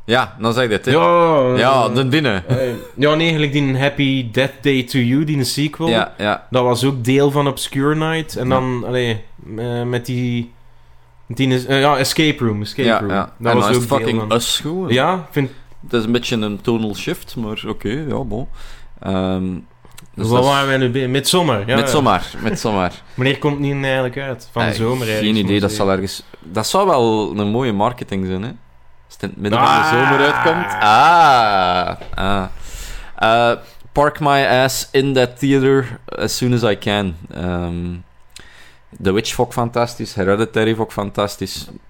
Ja, dan zeg je dit, hè. Ja, eh, Ja, de binnen. eh, ja, nee, eigenlijk die Happy Death Day to You, die een sequel. Ja, ja. Dat was ook deel van Obscure Night. En Ja. dan, allee, eh, met die... met die eh, ja, Escape Room, Escape ja, Room. ja. Dat en was dan is ook het fucking deel van... Us goed. hè. Ja, ik vind... Het is een beetje een tonal shift, maar oké, ja, bon. Ehm, dus Waar dat is- waren wij nu bij? Midsommar. Ja, met zomaar, met zomaar. Wanneer komt die nu eigenlijk uit? Van de Eh, zomer eigenlijk. Geen idee, moet dat ik zal ergens... Dat zou wel een mooie marketing zijn, hè? Als het in het midden van Ah. de zomer uitkomt. Ah! ah. Eh, park my ass in that theater as soon as I can. Ehm, The Witch vond ik fantastisch, Hereditary vond ik fantastisch. zeggen.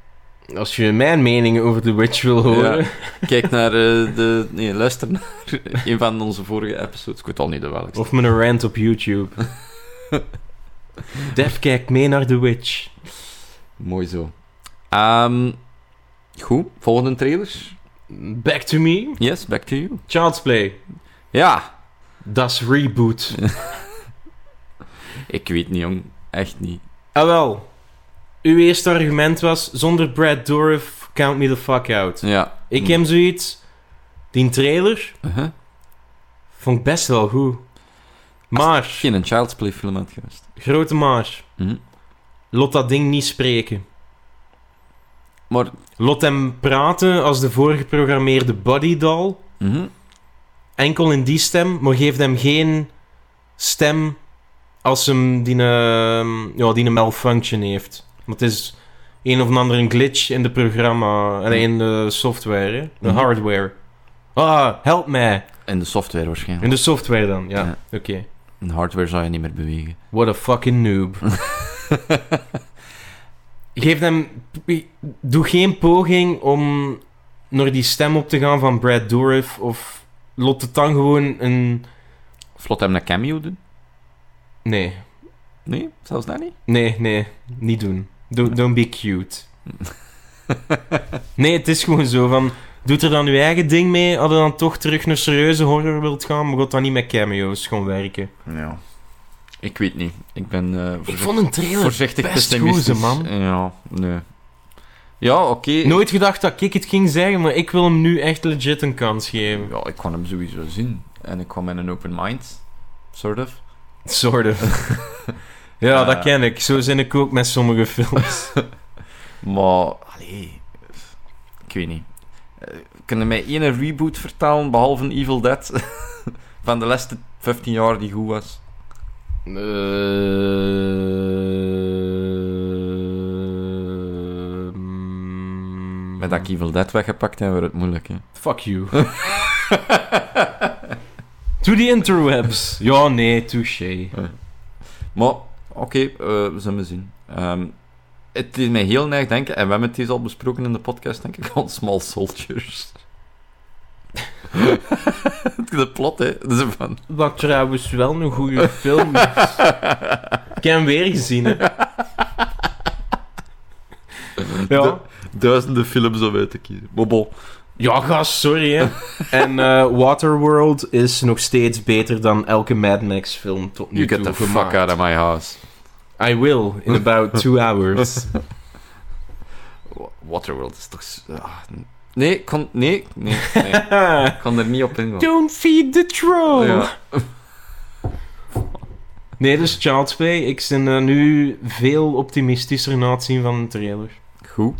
Als je mijn mening over The Witch wil horen... Ja. Kijk naar eh, de... Nee, luister naar een van onze vorige episodes. Ik weet al niet de welke. Of mijn rant op YouTube. Def kijkt mee naar The Witch. Mooi zo. Ehm, goed, volgende trailer. Back to me. Yes, back to you. Child's Play. Ja! Das Reboot. Ik weet niet, jong. Echt niet. ah wel. Uw eerste argument was, zonder Brad Dourif, count me the fuck out. Ja. Ik heb zoiets... Die trailer Uh-huh. vond ik best wel goed. Maar, Geen een Child's Play film uit geweest. grote maar, Mhm. lot dat ding niet spreken. Maar... Lot hem praten als de voorgeprogrammeerde body doll. mhm. enkel in die stem, maar geeft hem geen stem als hem die, ehm, ja, die een malfunction heeft. Want het is een of ander een glitch in de programma, en in de software, hè? de Mhm. hardware. Ah, help mij. En de software waarschijnlijk. In de software dan, ja. Ja. Oké. En hardware zou je niet meer bewegen. What a fucking noob. Geef hem... Doe geen poging om naar die stem op te gaan van Brad Dourif of lot het dan gewoon een... Of laat hem een cameo doen? Nee. Nee, zelfs dat niet. Nee, nee, niet doen. Don't, don't be cute. nee, het is gewoon zo van... Doet er dan uw eigen ding mee, als je dan toch terug naar serieuze horror wilt gaan, maar gaat dan niet met cameo's gewoon werken. Ja. Ik weet niet. Ik ben eh, voorzicht- een trailer voorzichtig best pessimistisch. goed, man. Ja, nee. Ja, oké. Nooit gedacht dat ik het ging zeggen, maar ik wil hem nu echt legit een kans geven. Ja, ik kon hem sowieso zien. En ik kwam met een open mind. Sort of. Sort of. ja, Eh. dat ken ik. Zo zin ik ook met sommige films. Maar, allee, ik weet niet. Eh, Kunnen mij één reboot vertalen behalve Evil Dead van de laatste 15 jaar die goed was? Ehm. Met dat ik Evil Dead weggepakt heb, werd het moeilijk. Hè? Fuck you. to the interwebs. Ja, nee, touché. Maar, oké, eh, we zullen we zien. Ehm, het is mij heel neig denken, en we hebben het eens al besproken in de podcast, denk ik, van Small Soldiers. De plot, hè. Dat is een van... Wat trouwens wel een goede film is. Ik heb hem weer gezien. Hè. Ja. Duizenden films om uit te kiezen. Bobo. ja, gast, sorry hè. En eh, Waterworld is nog steeds beter dan elke Mad Max film tot nu You toe get the gemaakt. fuck out of my house. I will, in about two hours. Wa- Waterworld is toch... s- ah, n- nee, ik kon... Nee, nee, nee. Ik kon er niet op ingaan. Don't feed the troll! Ja. Nee, dus Child's Play. Ik ben eh, nu veel optimistischer na het zien van de trailer. Goed.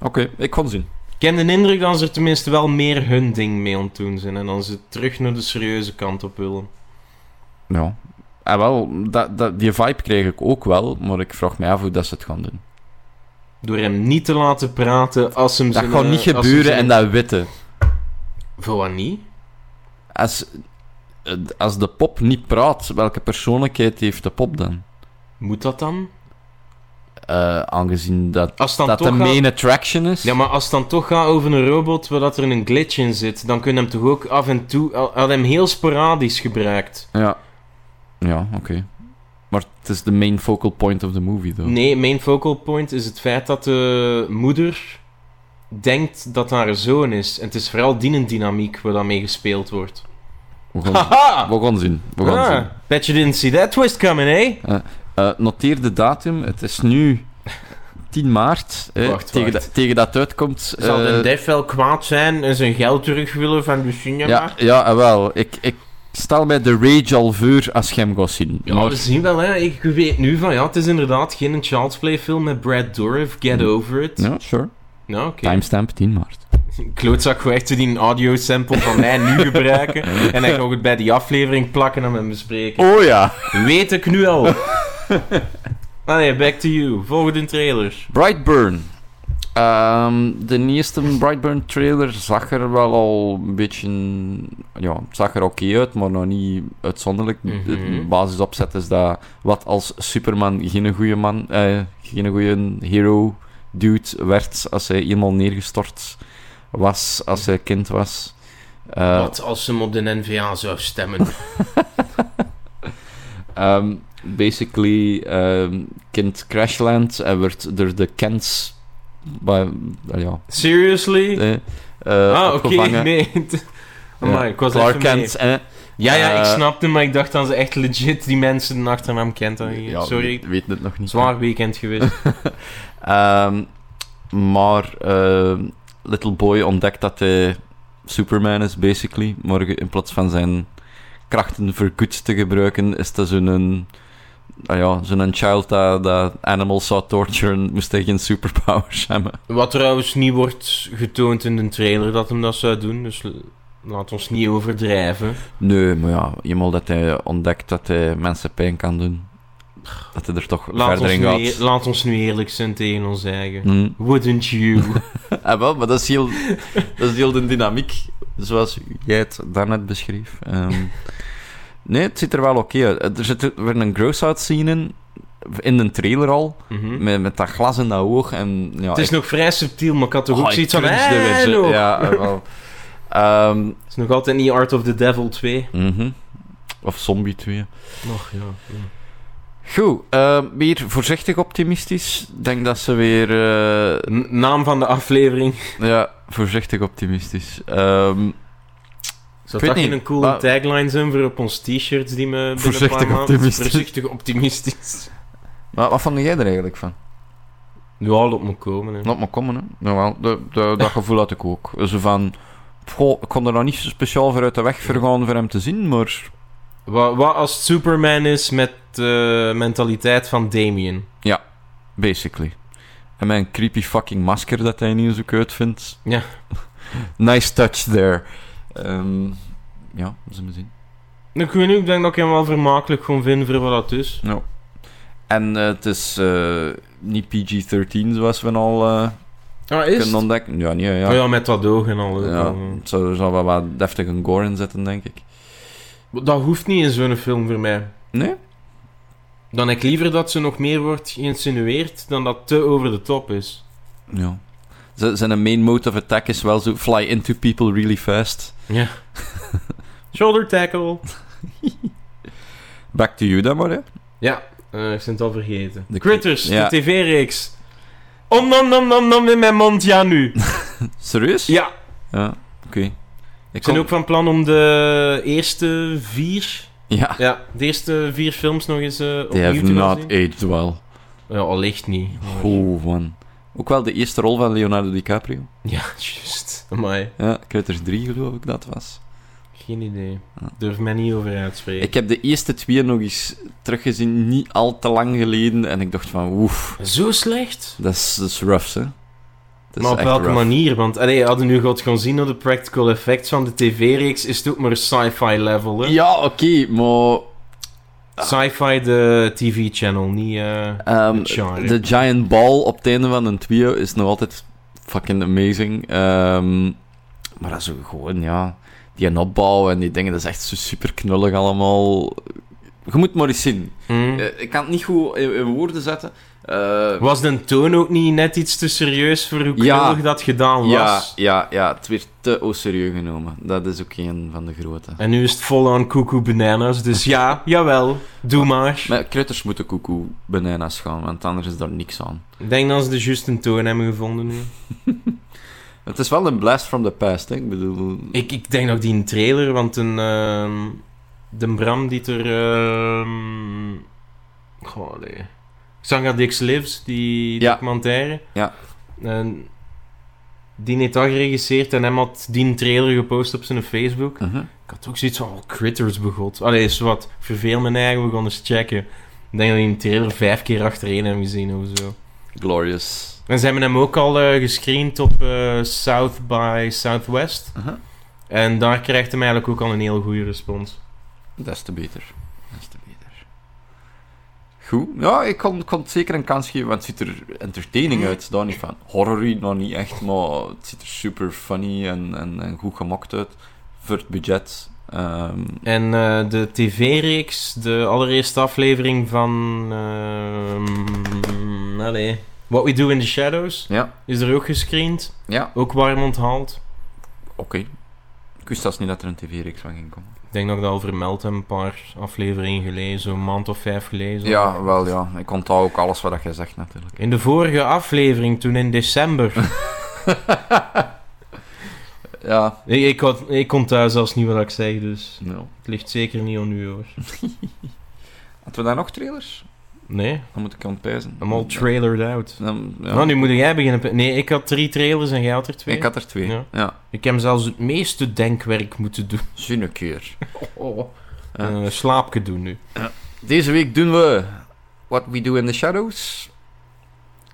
Oké, ik kon zien. Ik heb de indruk dat ze er tenminste wel meer hun ding mee aan het doen zijn. En dan ze terug naar de serieuze kant op willen. Ja. En Ah, wel, dat, dat, die vibe kreeg ik ook wel, maar ik vraag me af hoe dat ze het gaan doen. Door hem niet te laten praten als hem Dat zijn... gaat eh, niet als hem gebeuren zijn- en dat witte. Voor wat niet? Als, eh, als de pop niet praat, welke persoonlijkheid heeft de pop dan? Moet dat dan? Eh, aangezien dat Als het dan dat toch de gaat- main attraction is. Ja, maar als het dan toch gaat over een robot waar dat er een glitch in zit, dan kun je hem toch ook af en toe... Had hem heel sporadisch gebruikt. Ja, Ja, oké. Maar het is de main focal point of the movie, though. Nee, mijn focal point is het feit dat de moeder denkt dat haar zoon is. En het is vooral die dynamiek waar dan mee gespeeld wordt. We gaan, Haha! we gaan zien. We gaan zien. Ah, bet you didn't see that twist coming, eh? Eh, noteer de datum. Het is nu 10 maart. eh, Wacht, tegen, wacht. Dat, tegen dat het uitkomt. Zal eh, de def wel kwaad zijn en zijn geld terug willen van de cinema? ja, ja, ah, wel. Ik, ik stel mij de rage al voor als je hem gaat zien. Ja, Maar- we zien wel, hè. Ik weet nu van, ja, het is inderdaad geen Child's Play film met Brad Dourif. Get over it. Mm. Ja, sure. Nou, oké. Timestamp 10 maart. Klootzak gewoon echt die audiosample van mij nu gebruiken. en dan nog het bij die aflevering plakken en hem bespreken. Oh ja. Weet ik nu al. Allee, back to you. Volgende trailer. Brightburn. Ehm, de nieuwste Brightburn trailer zag er wel al een beetje. Ja, het zag er oké uit, maar nog niet uitzonderlijk. De Mhm. basisopzet is dat wat als Superman geen goede man, eh, geen goede hero dude werd als hij eenmaal neergestort was als hij kind was. Eh, Wat als ze hem op de NVA zou stemmen? Ehm, basically, ehm, kind Crashland en werd door de Kents. bij- ja, Seriously? eh, eh, ah, oké. opgevangen. Nee. Amai, Ja, ik was Clark even mee. Kent. eh, Ja, ja, ik Eh, snapte, maar ik dacht dat ze echt legit die mensen een achternaam kent. dan hier. ja, Sorry, weet- weet het nog niet. zwaar weekend geweest. Ehm, maar ehm, Little Boy ontdekt dat hij Superman is, basically. Maar ge- in plaats van zijn krachten voor goed te gebruiken, is dat zo'n... een- ah ja, zo'n child dat, dat animals zou torturen, moest hij geen superpowers hebben. Wat trouwens niet wordt getoond in de trailer dat hem dat zou doen, dus l- laat ons niet overdrijven. Nee, maar ja, eenmaal dat hij ontdekt dat hij mensen pijn kan doen, dat hij er toch Laat ons, verder in nu, gaat. eer- laat ons nu eerlijk zijn tegen ons eigen. Hmm. Wouldn't you? Ah, wel, maar dat is, heel, dat is heel de dynamiek, zoals jij het daarnet beschreef. Ehm, nee, het ziet er wel oké uit. Er zit weer een gross-out scene in, in de trailer al, Mhm. met, met dat glas in dat oog. En, ja, Het is ik- nog vrij subtiel, maar ik had toch ook Ah, ik zoiets van... cringe er weer "Eh, zo." no." Ja, ah, wel. Ehm, Het is nog altijd niet Art of the Devil 2. mhm. Of Zombie 2. Och, ja. Eh, Goed, ehm, weer voorzichtig optimistisch. Ik denk dat ze weer... eh, N- Naam van de aflevering. Ja, voorzichtig optimistisch. Ehm, Zou Ik dat weet geen niet, een coole maar- tagline zijn voor op ons t-shirts die me binnen Voorzichtig een paar maanden- optimistisch. Voorzichtig optimistisch. maar wat vond jij er eigenlijk van? Nu al op me komen, hè. Laat maar komen, hè. Jawel, de, de, dat gevoel had ik ook. Zo van... Goh, ik kon er nog niet zo speciaal voor uit de weg vergaan voor hem te zien, maar... Wat, wat als het Superman is met de mentaliteit van Damien? Basically. En mijn creepy fucking masker dat hij niet zo uit vindt. Ja. nice touch there. Ehm, ja, zullen we zien. Ik weet niet, ik denk dat ik hem wel vermakelijk gewoon vind voor wat dat is. En eh, het is eh, niet PG-13 zoals we al eh, Ah, is? kunnen ontdekken. Ja, nee, Ja. ja. Oh ja, met dat oog en al. Ja, het zou er zal wel wat deftig een gore in zitten, denk ik. Dat hoeft niet in zo'n film voor mij. Nee? Dan heb ik liever dat ze nog meer wordt geïnsinueerd dan dat te over de top is. Ja. Z- zijn main mode of attack is wel zo... Fly into people really fast. Ja. Shoulder tackle. Back to you dan maar, hè. Ja, eh, ik ben het al vergeten. De Critters, ja. de tv-reeks. Om nom nom nom nom in mijn mond, ja nu. Serieus? Ja, Ja, oké. Ik ik ben kom- ook van plan om de eerste vier... Ja, Ja, de eerste vier films nog eens eh, they opnieuw have te not e- laten zien. aged well. Ja, allicht niet. Oh, man. Ook wel de eerste rol van Leonardo DiCaprio. Ja, juist. Amai, Ja, Critters 3 geloof ik dat was. geen idee. Durf mij niet over uitspreken. Ik heb de eerste twee nog eens teruggezien, niet al te lang geleden. En ik dacht van, oef, Zo slecht? dat is, dat is rough, hè. Dat is maar op echt welke rough. manier? Want allee, hadden nu God gewoon zien hoe de practical effects van de tv-reeks is het ook maar sci-fi level, hè? Ja, oké, maar... Sci-fi de tv-channel, niet... eh, ehm, Het genre. de Giant Ball op het einde van een trio is nog altijd fucking amazing. Ehm, maar dat is ook gewoon, ja... Die een opbouw en die dingen, dat is echt zo super knullig allemaal. Je moet maar eens zien. hm. Eh, ik kan het niet goed in, in woorden zetten. Eh, Was de toon ook niet net iets te serieus voor hoe Ja. knullig dat gedaan was? ja, ja, ja, het werd te au serieus genomen. Dat is ook een van de grote. En nu is het vol aan koekoe bananas, dus ja, jawel, doe maar. Maar critters moeten koekoe bananas gaan, want anders is daar niks aan. Ik denk dat ze de juiste toon hebben gevonden nu. Het is wel een blast from the past, hè? Ik bedoel... Ik, ik denk nog die een trailer, want een, ehm, de Bram die er... ehm, goh, nee. Sanga Dix Lives, die Ja. documentaire. Ja. En die heeft dat geregisseerd en hem had die een trailer gepost op zijn Facebook. Mhm. Ik had ook zoiets van, oh, critters begot. Allee, is wat. Ik Verveel me eigen, we gaan eens checken. Ik denk dat die een trailer vijf keer achtereen hebben gezien of zo. Glorious. En ze hebben hem ook al eh, gescreend op eh, South by Southwest. Mhm. En daar krijgt hij eigenlijk ook al een heel goede respons. Des te beter. Des te beter. Goed. Ja, ik kon, kon het zeker een kans geven, want het ziet er entertaining uit. Daar niet van. Horrory nog niet echt, maar het ziet er super funny en, en, en goed gemokt uit. Voor het budget. Ehm, En eh, de tv-reeks, de allereerste aflevering van... ehm, allee, What We Do in the Shadows, ja, is er ook gescreend. ja, Ook warm onthaald. oké. Ik wist zelfs niet dat er een tv-reeks van ging komen. Ik denk dat ik dat al vermeld heb, een paar afleveringen geleden, zo'n maand of vijf geleden. Ja, wel ja. Ik onthoud ook alles wat jij zegt natuurlijk. In de vorige aflevering, toen in december. Ja. ik, ik, had, ik kon thuis zelfs niet wat ik zeg, dus No. het ligt zeker niet aan u hoor. Hadden we daar nog trailers? Nee, Dan moet ik ontpijzen. I'm all trailered out. Dan- ja. Nou, nu moet jij beginnen. Nee, ik had drie trailers en jij had er twee. Ik had er twee. Ja. Ja. Ik heb zelfs het meeste denkwerk moeten doen. Zin een keer. Oh, Ja. Eh slaapje doen nu. Deze week doen we What We Do in the Shadows.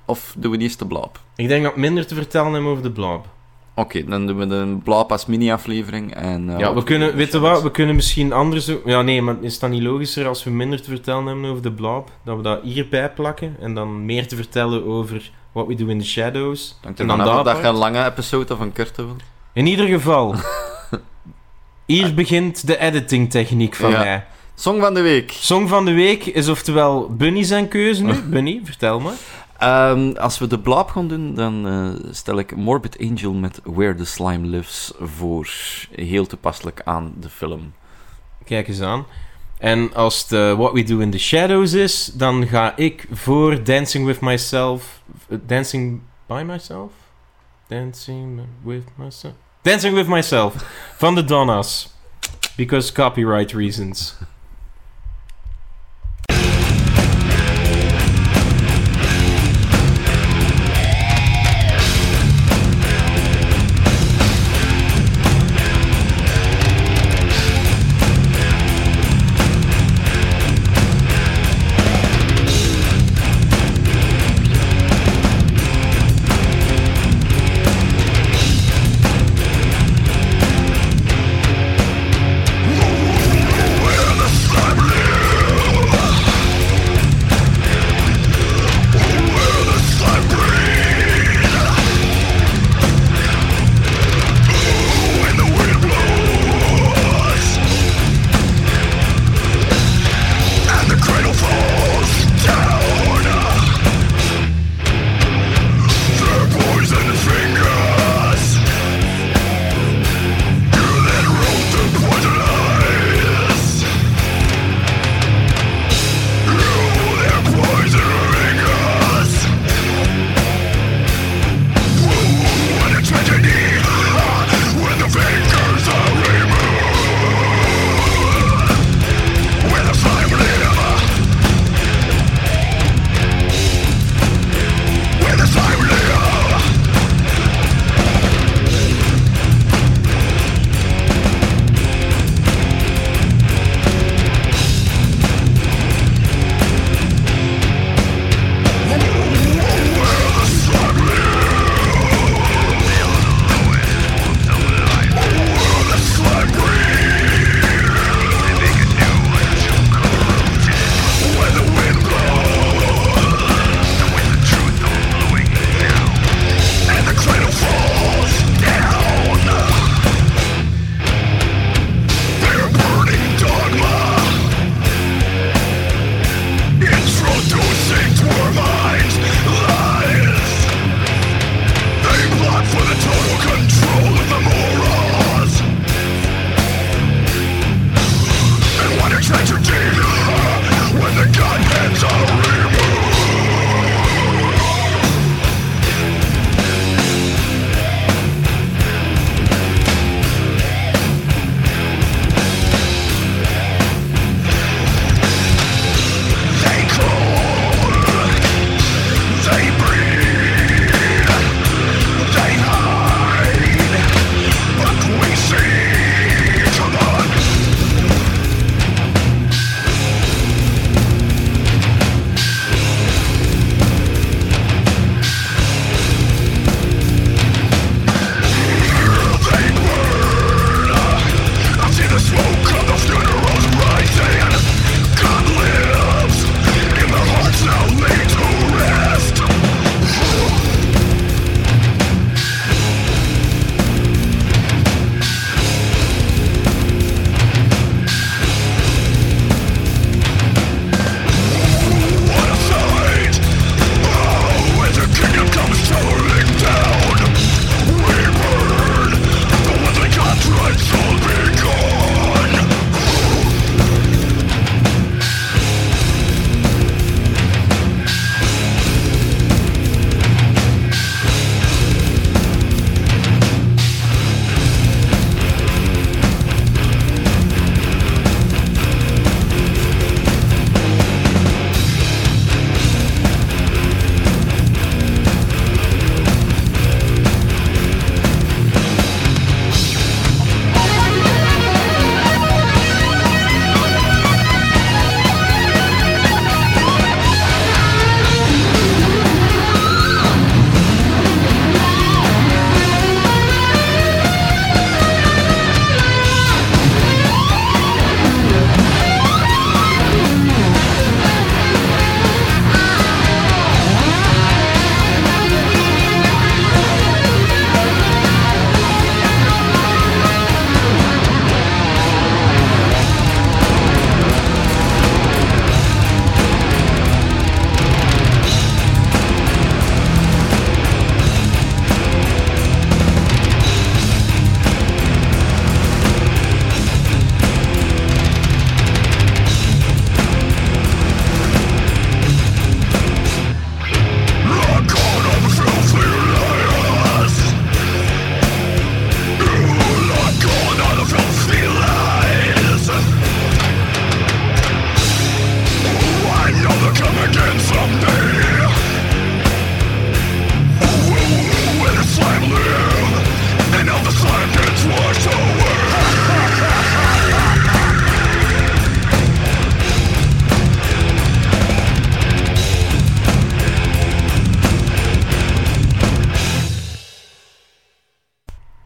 Of doen we eerst de Blob? Ik denk dat ik minder te vertellen heb over de blob. Oké, dan doen we de Blob als mini-aflevering. En, Ja, eh, What we We Do kunnen, in the weet je Shadows. wat, we kunnen misschien anders ook... Ja, nee, maar is dat niet logischer als we minder te vertellen hebben over de blob, dat we dat hierbij plakken en dan meer te vertellen over What We Do in the Shadows? Dank en dan ervan af of daar dat je een lange episode of een korte wil. In ieder geval, hier begint de editingtechniek van Ja. mij. Song van de week. Song van de week is oftewel Bunny zijn keuze nu. Bunny, vertel me. Ehm, als we de Blob gaan doen, dan eh, stel ik Morbid Angel met Where the Slime Lives voor. Heel toepasselijk aan de film. Kijk eens aan. En als het eh, What We Do in the Shadows is, dan ga ik voor Dancing with Myself. eh, Dancing by Myself? Dancing with Myself. Dancing with Myself van de Donnas. Because copyright reasons. Slime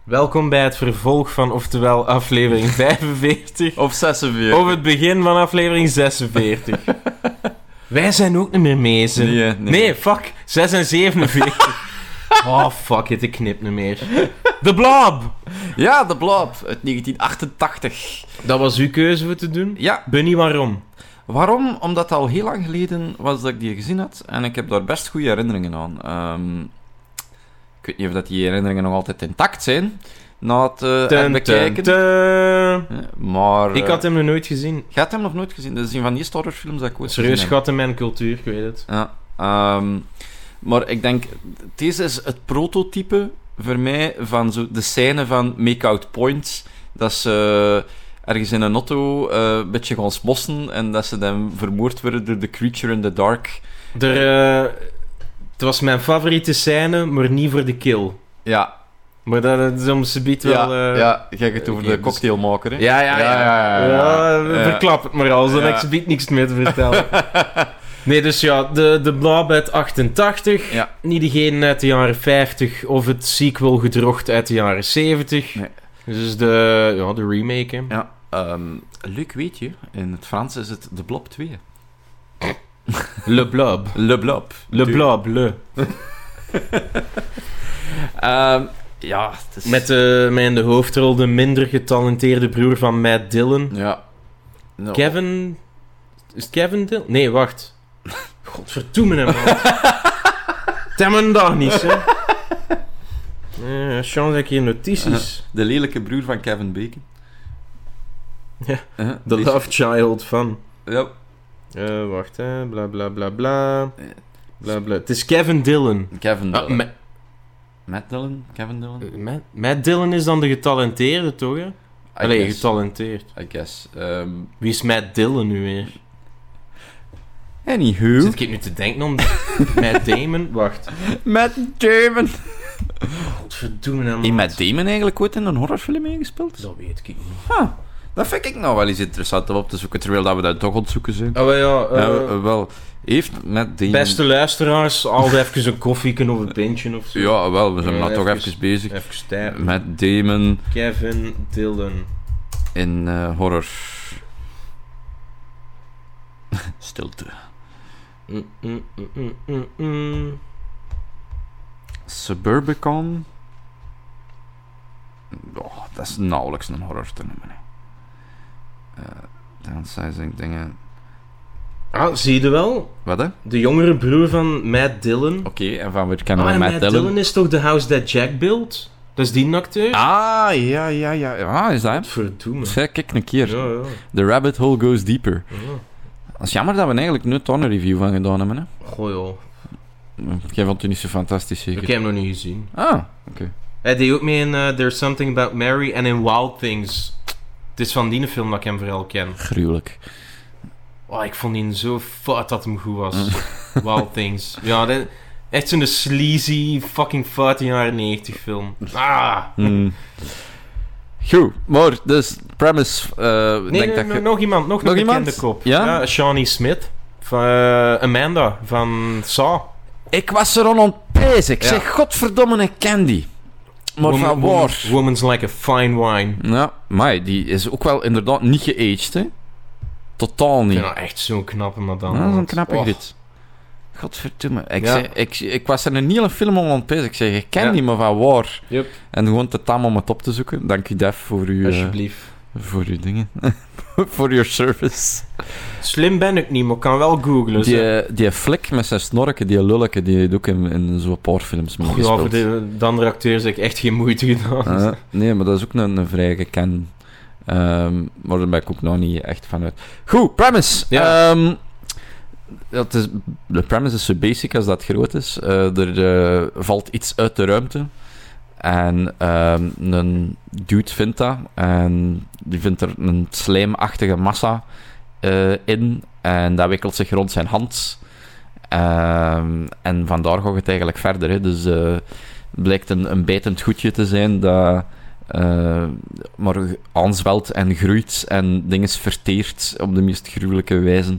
Welkom bij het vervolg van oftewel aflevering 45 Of 46. of het begin van aflevering 46. Wij zijn ook niet meer mezen. Nee, Nee, nee. fuck. 6 en 47. oh, fuck it, ik knip niet meer. De Blob! Ja, de Blob uit 1988. Dat was uw keuze voor te doen. Ja, Bunny, waarom? Waarom? Omdat het al heel lang geleden was dat ik die gezien had. En ik heb daar best goede herinneringen aan. Ehm, ik weet niet of dat die herinneringen nog altijd intact zijn. Na het eh, Dun, bekijken. dun, dun. Ja, Maar... Ik eh, had hem nog nooit gezien. Jij hebt hem nog nooit gezien. Dat is een van die horrorfilms dat ik ooit Serieus gezien heb. gat in mijn cultuur, ik weet het. Ja. ehm, maar ik denk... Deze is het prototype voor mij van zo de scène van Make Out Point. Dat ze... eh, Ergens in een auto eh, een beetje gaan smossen en dat ze dan vermoord worden door The Creature in the Dark. Er, eh, het was mijn favoriete scène, maar niet voor de kill. Ja, Maar dat het soms biedt wel... ja, eh, ja, jij hebt het over oké, de dus- cocktailmaker, hè? Ja, ja, ja. ja, ja, ja. Ja, Ja. verklap het maar al, dan Eh, Ja. heb ik biedt niks meer te vertellen. nee, dus ja, de, de Blob uit 88. Ja. Niet degene uit de jaren 50 of het sequel gedrocht uit de jaren 70. Nee. Dus de, ja, de remake, hè. Ja, ehm, leuk weet je, in het Frans is het de blob 2. Le Blob. Le blob. Le Blob, le. Ehm, ja, het is... Met, eh met in de hoofdrol de minder getalenteerde broer van Matt Dillon. Ja. Nou, Oh. Kevin. Is het Kevin Dillon? Nee, wacht. Godverdoeme hem, man. Temmen daar niet, hè? Eh, chance dat ik hier notities. De lelijke broer van Kevin Bacon. Ja, Eh, The die- Love Child van. Ja, Eh, wacht, hè. Bla bla bla bla. Bla bla. Het is Kevin Dillon. Kevin Ah, Dillon. Ma- Matt Dillon? Kevin Dillon? eh, Ma- Matt Dillon is dan de getalenteerde, toch? Hè? Allee, guess. getalenteerd. I guess. Ehm Wie is Matt Dillon nu weer? anywho. Zit ik nu te denken om Matt Damon? Wacht. Matt Damon. Godverdomme hem. Heeft Matt Damon eigenlijk ooit in een horrorfilm meegespeeld? Dat weet ik niet. Dat vind ik nou wel eens interessant om op te zoeken, terwijl dat we dat toch aan het zoeken zijn. Oh ja, eh, Ja, eh, wel, heeft met die... beste luisteraars, al even een koffieken of een pintje of zo. Ja, wel, we zijn Ja, nou toch even- even bezig. Even tijd. Met Damon Kevin Dillon. in eh, horror. Stilte. Mm, mm, mm, mm, mm, mm. Suburbicon. Oh, dat is nauwelijks een horror te noemen. hè. Eh, downsizing dingen. Ah, zie je wel? Wat hè? Oké, De jongere broer van Matt Dillon. en van weer kennen Ah, we en Oh, Matt, Dillon. is toch de House That Jack Built? Dat is die acteur? Ah, ja, ja, ja. Ah, is dat hem? Verdoemen. Zeg, kijk een keer. Ja, ja. The rabbit hole goes deeper. ja. Dat is jammer dat we eigenlijk nooit een review van gedaan hebben. Hè? Goh, joh. Jij vond het niet zo fantastisch, Ik zeker? heb hem nog niet gezien. Ah, oké. Hij deed ook mee in eh, There's Something About Mary en in Wild Things. Het is van die film dat ik hem vooral ken. Gruwelijk. Oh, ik vond die zo fout dat hem goed was. Mm. Wild Things. Ja, dat- echt zo'n sleazy, fucking foute jaren 90 film. Ah! Hmm. Goed, maar dus, premise... eh Nee, denk nee, dat no- je- nog iemand. Nog, Nog een bekende iemand? kop. Ja? Shawnee Smith. Van eh, Amanda, van Saw. Ik was er al aan bezig. Ik Ja. zeg, godverdomme, ik ken die. Maar Woman- van woman- waar? Woman's like a fine wine. Ja, maar die is ook wel inderdaad niet geaged, hè. Totaal Ik niet. vind dat echt zo'n knappe madame. Ja, dat is een want- knappe oh. grit. Godverdomme. Ik, Ja. zei- ik, ik was er een hele film om aan het bezig. Ik zeg, ik ken Ja. die maar van waar. Yep. En gewoon te tam om het op te zoeken. Dank u, Def, voor uw, eh, Alsjeblieft. voor uw dingen. voor your service. Slim ben ik niet, maar ik kan wel googlen. zo. Die, eh, die flik met zijn snorken, die lulke, die heeft ook in, in zo'n paar films Ja, meegespeeld. voor de, de andere acteurs heb ik echt geen moeite gedaan. Ah, nee, maar dat is ook een, een vrij gekend. Ehm, maar daar ben ik ook nog niet echt van uit. Goed, premise. Ja. Ehm, dat is, de premise is zo basic als dat groot is. Eh, er eh, valt iets uit de ruimte. En ehm, een dude vindt dat. En die vindt er een slijmachtige massa eh, in. En dat wikkelt zich rond zijn hand. Ehm, en vandaar gaat het eigenlijk verder. Hè. Dus eh, het blijkt een, een bijtend goedje te zijn dat eh, maar aanzwelt en groeit en dingen verteert op de meest gruwelijke wijze.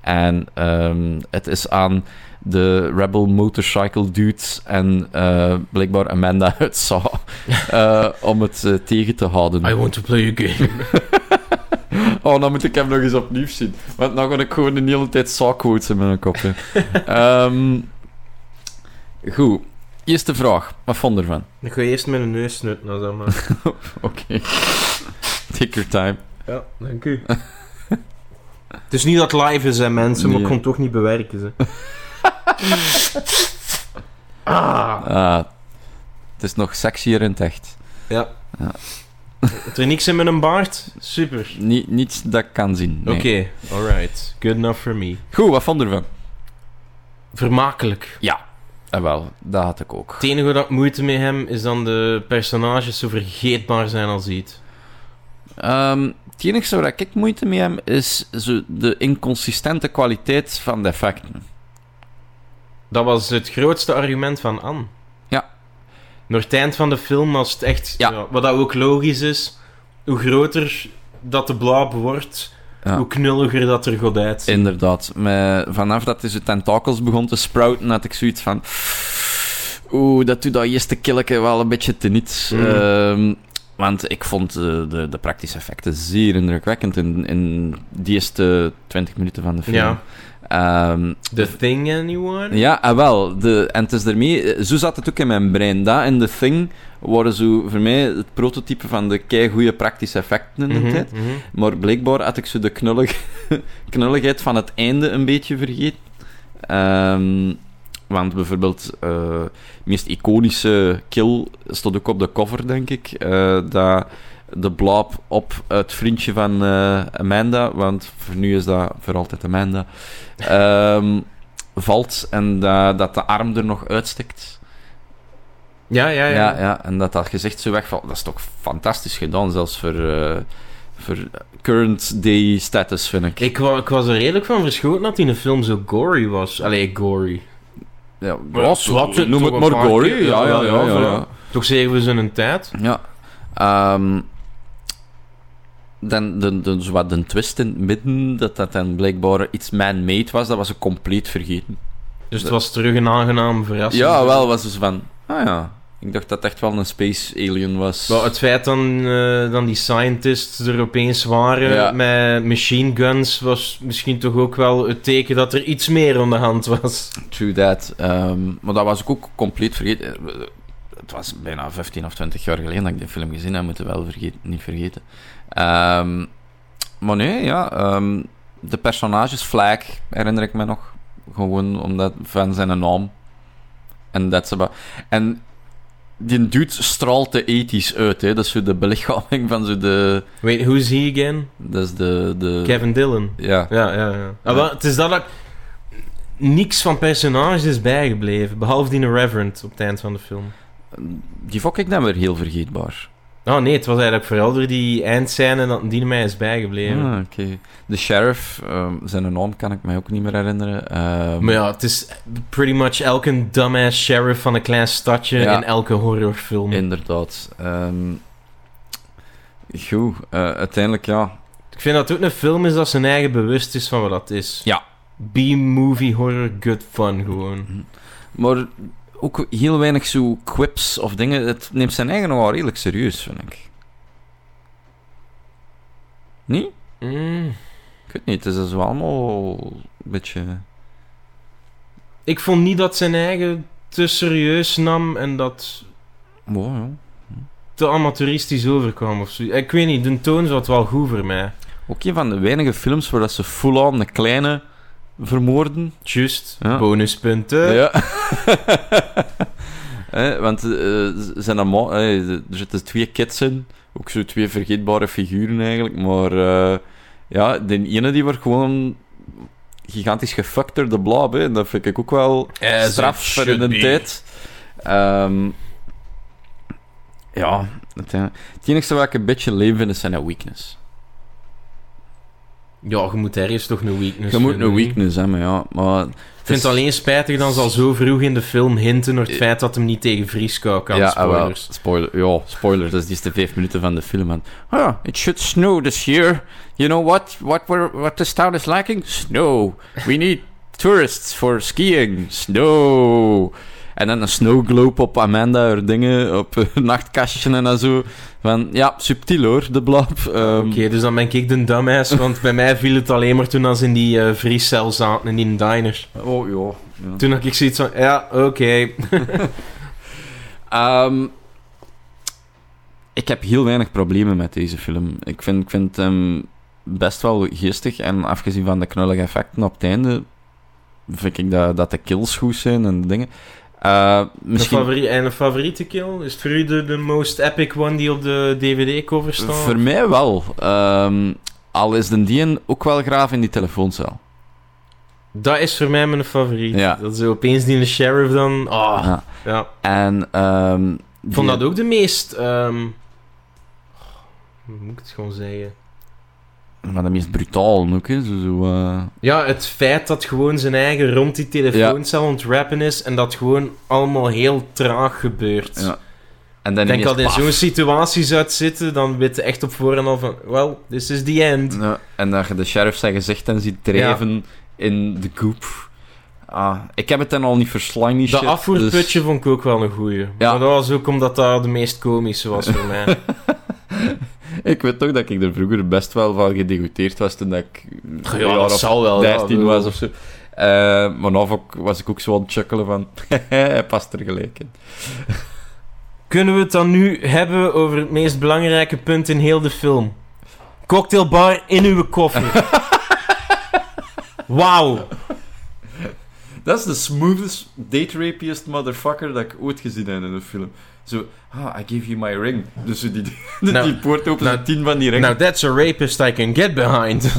En ehm, het is aan de Rebel Motorcycle Dudes en eh, blijkbaar Amanda uit Saw eh, om het eh, tegen te houden. I want to play a game. Oh, dan moet ik hem nog eens opnieuw zien. Want dan ga ik gewoon de hele tijd saw-quotes in mijn kop. hè. Ehm, goed. Eerste vraag. Wat vond je ervan? Ik ga eerst mijn neus snutten, nou, zeg maar. Oké. Take your time. Ja, dank u. het is niet dat het live is, hè, mensen, maar Nee. ik kon het toch niet bewerken. Ze. ah, Ah, het is nog sexier in het echt. is er niks in met een baard? Super. Ni- niets dat ik kan zien. nee. Oké, alright. Good enough for me. Goed, wat vond je ervan? Vermakelijk. Eh, wel, dat had ik ook. Het enige dat ik moeite mee hem is dan de personages zo vergeetbaar zijn als iets. Ehm, het enige waar ik moeite mee heb, is zo de inconsistente kwaliteit van de effecten. Dat was het grootste argument van Anne. Ja. Door het eind van de film was het echt... Ja. ja, wat dat ook logisch is, hoe groter dat de blauw wordt, Ja. hoe knulliger dat er god uitziet. Inderdaad. Maar vanaf dat hij zijn tentakels begon te sprouten, had ik zoiets van... Oeh, dat doet dat eerste killetje wel een beetje teniet. Mm. Ehm, want ik vond eh, de, de praktische effecten zeer indrukwekkend in, in die eerste 20 minuten van de film. Ja. Ehm, The Thing, anyone? ja, ah, wel. De, en het is ermee... eh, Zo zat het ook in mijn brein. Dat en The Thing waren zo voor mij het prototype van de keigoede praktische effecten in de Mhm, tijd. mhm. Maar blijkbaar had ik zo de knullig, knulligheid van het einde een beetje vergeten. Ehm, want bijvoorbeeld, eh, de meest iconische kill stond ook op de cover, denk ik. eh, dat de blaap op het vriendje van eh, Amanda, want voor nu is dat voor altijd Amanda, ehm, valt en dat- dat de arm er nog uitstikt. Ja, ja, ja. Ja, ja, en dat dat gezicht zo wegvalt, dat is toch fantastisch gedaan, zelfs voor, eh, voor current day status, vind ik. Ik, wa- ik was er redelijk van verschoten dat die in de film zo gory was. Allee, gory. Ja, Maar ja, dat slaat het noem toch het maar een paar gory. keer. Ja, ja, ja. ja, ja, voilà. Toch zeggen we ze een tijd. Ja. Ehm, dan, de, de, zo wat de twist in het midden, dat dat dan blijkbaar iets man-made was, dat was ik compleet vergeten. Dus het was terug een aangename verrassing. ja, wel, was dus van, ah ja, ik dacht dat het echt wel een space alien was. Maar het feit dat dan die scientists er opeens waren Ja. met machine guns was misschien toch ook wel het teken dat er iets meer aan de hand was. True that. Ehm, maar dat was ik ook compleet vergeten. Eh, Het was bijna 15 of 20 jaar geleden dat ik die film gezien heb, moeten we wel vergeten, niet vergeten. Ehm, maar nee, ja. ehm, de personages Flag herinner ik me nog. Gewoon omdat van zijn naam. En dat ze. ba- En die dude straalt de ethisch uit, hè. Dat is zo de belichaming van zo de. Wait, who's he again? Dat is de. de Kevin Dillon. Ja. Ja, ja, ja. Ah, wel, het is dat ik... Niks van personages is bijgebleven, behalve die Reverend op het eind van de film. Die vond ik dan weer heel vergeetbaar. Oh nee, het was eigenlijk vooral door die eindscène dat die mij is bijgebleven. Ah, oké. De sheriff, ehm, zijn naam kan ik mij ook niet meer herinneren. Ehm, Maar ja, het is pretty much elke dumbass sheriff van een klein stadje Ja. in elke horrorfilm. Inderdaad. Ehm, goed, eh, uiteindelijk ja. Ik vind dat het ook een film is dat zijn eigen bewust is van wat dat is. Ja. B-movie horror, good fun gewoon. Maar ook heel weinig zo quips of dingen. Het neemt zijn eigen nogal redelijk serieus, vind ik. Nee? Mm. Ik weet niet. Het is dus wel allemaal een beetje... Ik vond niet dat zijn eigen te serieus nam en dat Wow, ja. te amateuristisch overkwam of zo. Ik weet niet, de toon zat wel goed voor mij. Ook een van de weinige films waar dat ze full-on de kleine vermoorden. Just, Ja. bonuspunten. Ja. Hè, want eh, ze zijn allemaal, eh, er zitten twee kids in. Ook zo twee vergeetbare figuren eigenlijk. Maar eh, ja, de ene die wordt gewoon gigantisch gefuckt door de blab. Hè. En dat vind ik ook wel As it straf voor should de be. tijd. Ehm, ja, het, eh, het enige waar ik een beetje leef vind is zijn een weakness. Ja, je moet ergens toch een weakness Je moet vinden, een niet? weakness hebben, ja. Maar Ik vind het alleen spijtig dat ze al zo vroeg in de film hinten door het feit dat hem niet tegen vrieskou kan. ja, ah, wel. spoilers. Spoiler, ja, spoiler. Dat is dus de eerste vijf minuten van de film. En, "Huh, it should snow this year. You know what? What, we're, what this town is lacking? Snow. We need Tourists for skiing. Snow. En dan een snowglobe op Amanda, haar dingen, op haar nachtkastje en zo. Van, ja, subtiel hoor, de blab. Ehm, Oké, dus dan ben ik de dumbass, want bij mij viel het alleen maar toen als in die eh, vriescel zaten en in die diner. Oh, ja. ja. Toen had ik zoiets van, ja, oké. Ehm, ik heb heel weinig problemen met deze film. Ik vind, ik vind hem best wel geestig. En afgezien van de knullige effecten op het einde, vind ik dat, dat de kills goed zijn en de dingen. Eh, Een misschien favori- en een favoriete kill? Is het voor u de, de most epic one die op de DVD-cover staat? voor mij wel. Ehm, al is de dien ook wel graaf in die telefoonzaal. Dat is voor mij mijn favoriet. Ja. Dat is opeens die sheriff dan... Ah, Ja. ja. En, ehm, Ik vond die- dat ook de meest... ehm, oh, Hoe moet ik het gewoon zeggen? Maar de meest brutaal ook, hè. Zo, zo, eh, Ja, het feit dat gewoon zijn eigen rond die telefooncel aan het rappen is en dat gewoon allemaal heel traag gebeurt. Ja. En dan Ik denk ineens dat in paf. zo'n situatie zou zitten, dan weet je echt op voorhand al van... Well, this is the end. Ja, en dat je de sheriff zijn gezicht en ziet drijven in de goep. Ah, ik heb het dan al niet verslang, die Dat shit, dus afvoerputje vond ik ook wel een goeie. Ja. Maar dat was ook omdat dat de meest komische was voor mij. dus- Ik weet toch dat ik er vroeger best wel van gedegoteerd was toen dat ik een Ja, jaar dat of zal wel, ja, 13 bedoel. was of zo. Eh, maar nou vond ik- was ik ook zo aan het chuckelen van... hij past er gelijk in. Kunnen we het dan nu hebben over het meest belangrijke punt in heel de film? Cocktailbar in uw koffer. Wauw. Dat is de smoothest, date rapiest motherfucker dat ik ooit gezien heb in een film. Zo, ah, I give you my ring. Dus zo die, die, Nou, die poort opent, nou, en tien van die ringen. Now that's a rapist I can get behind.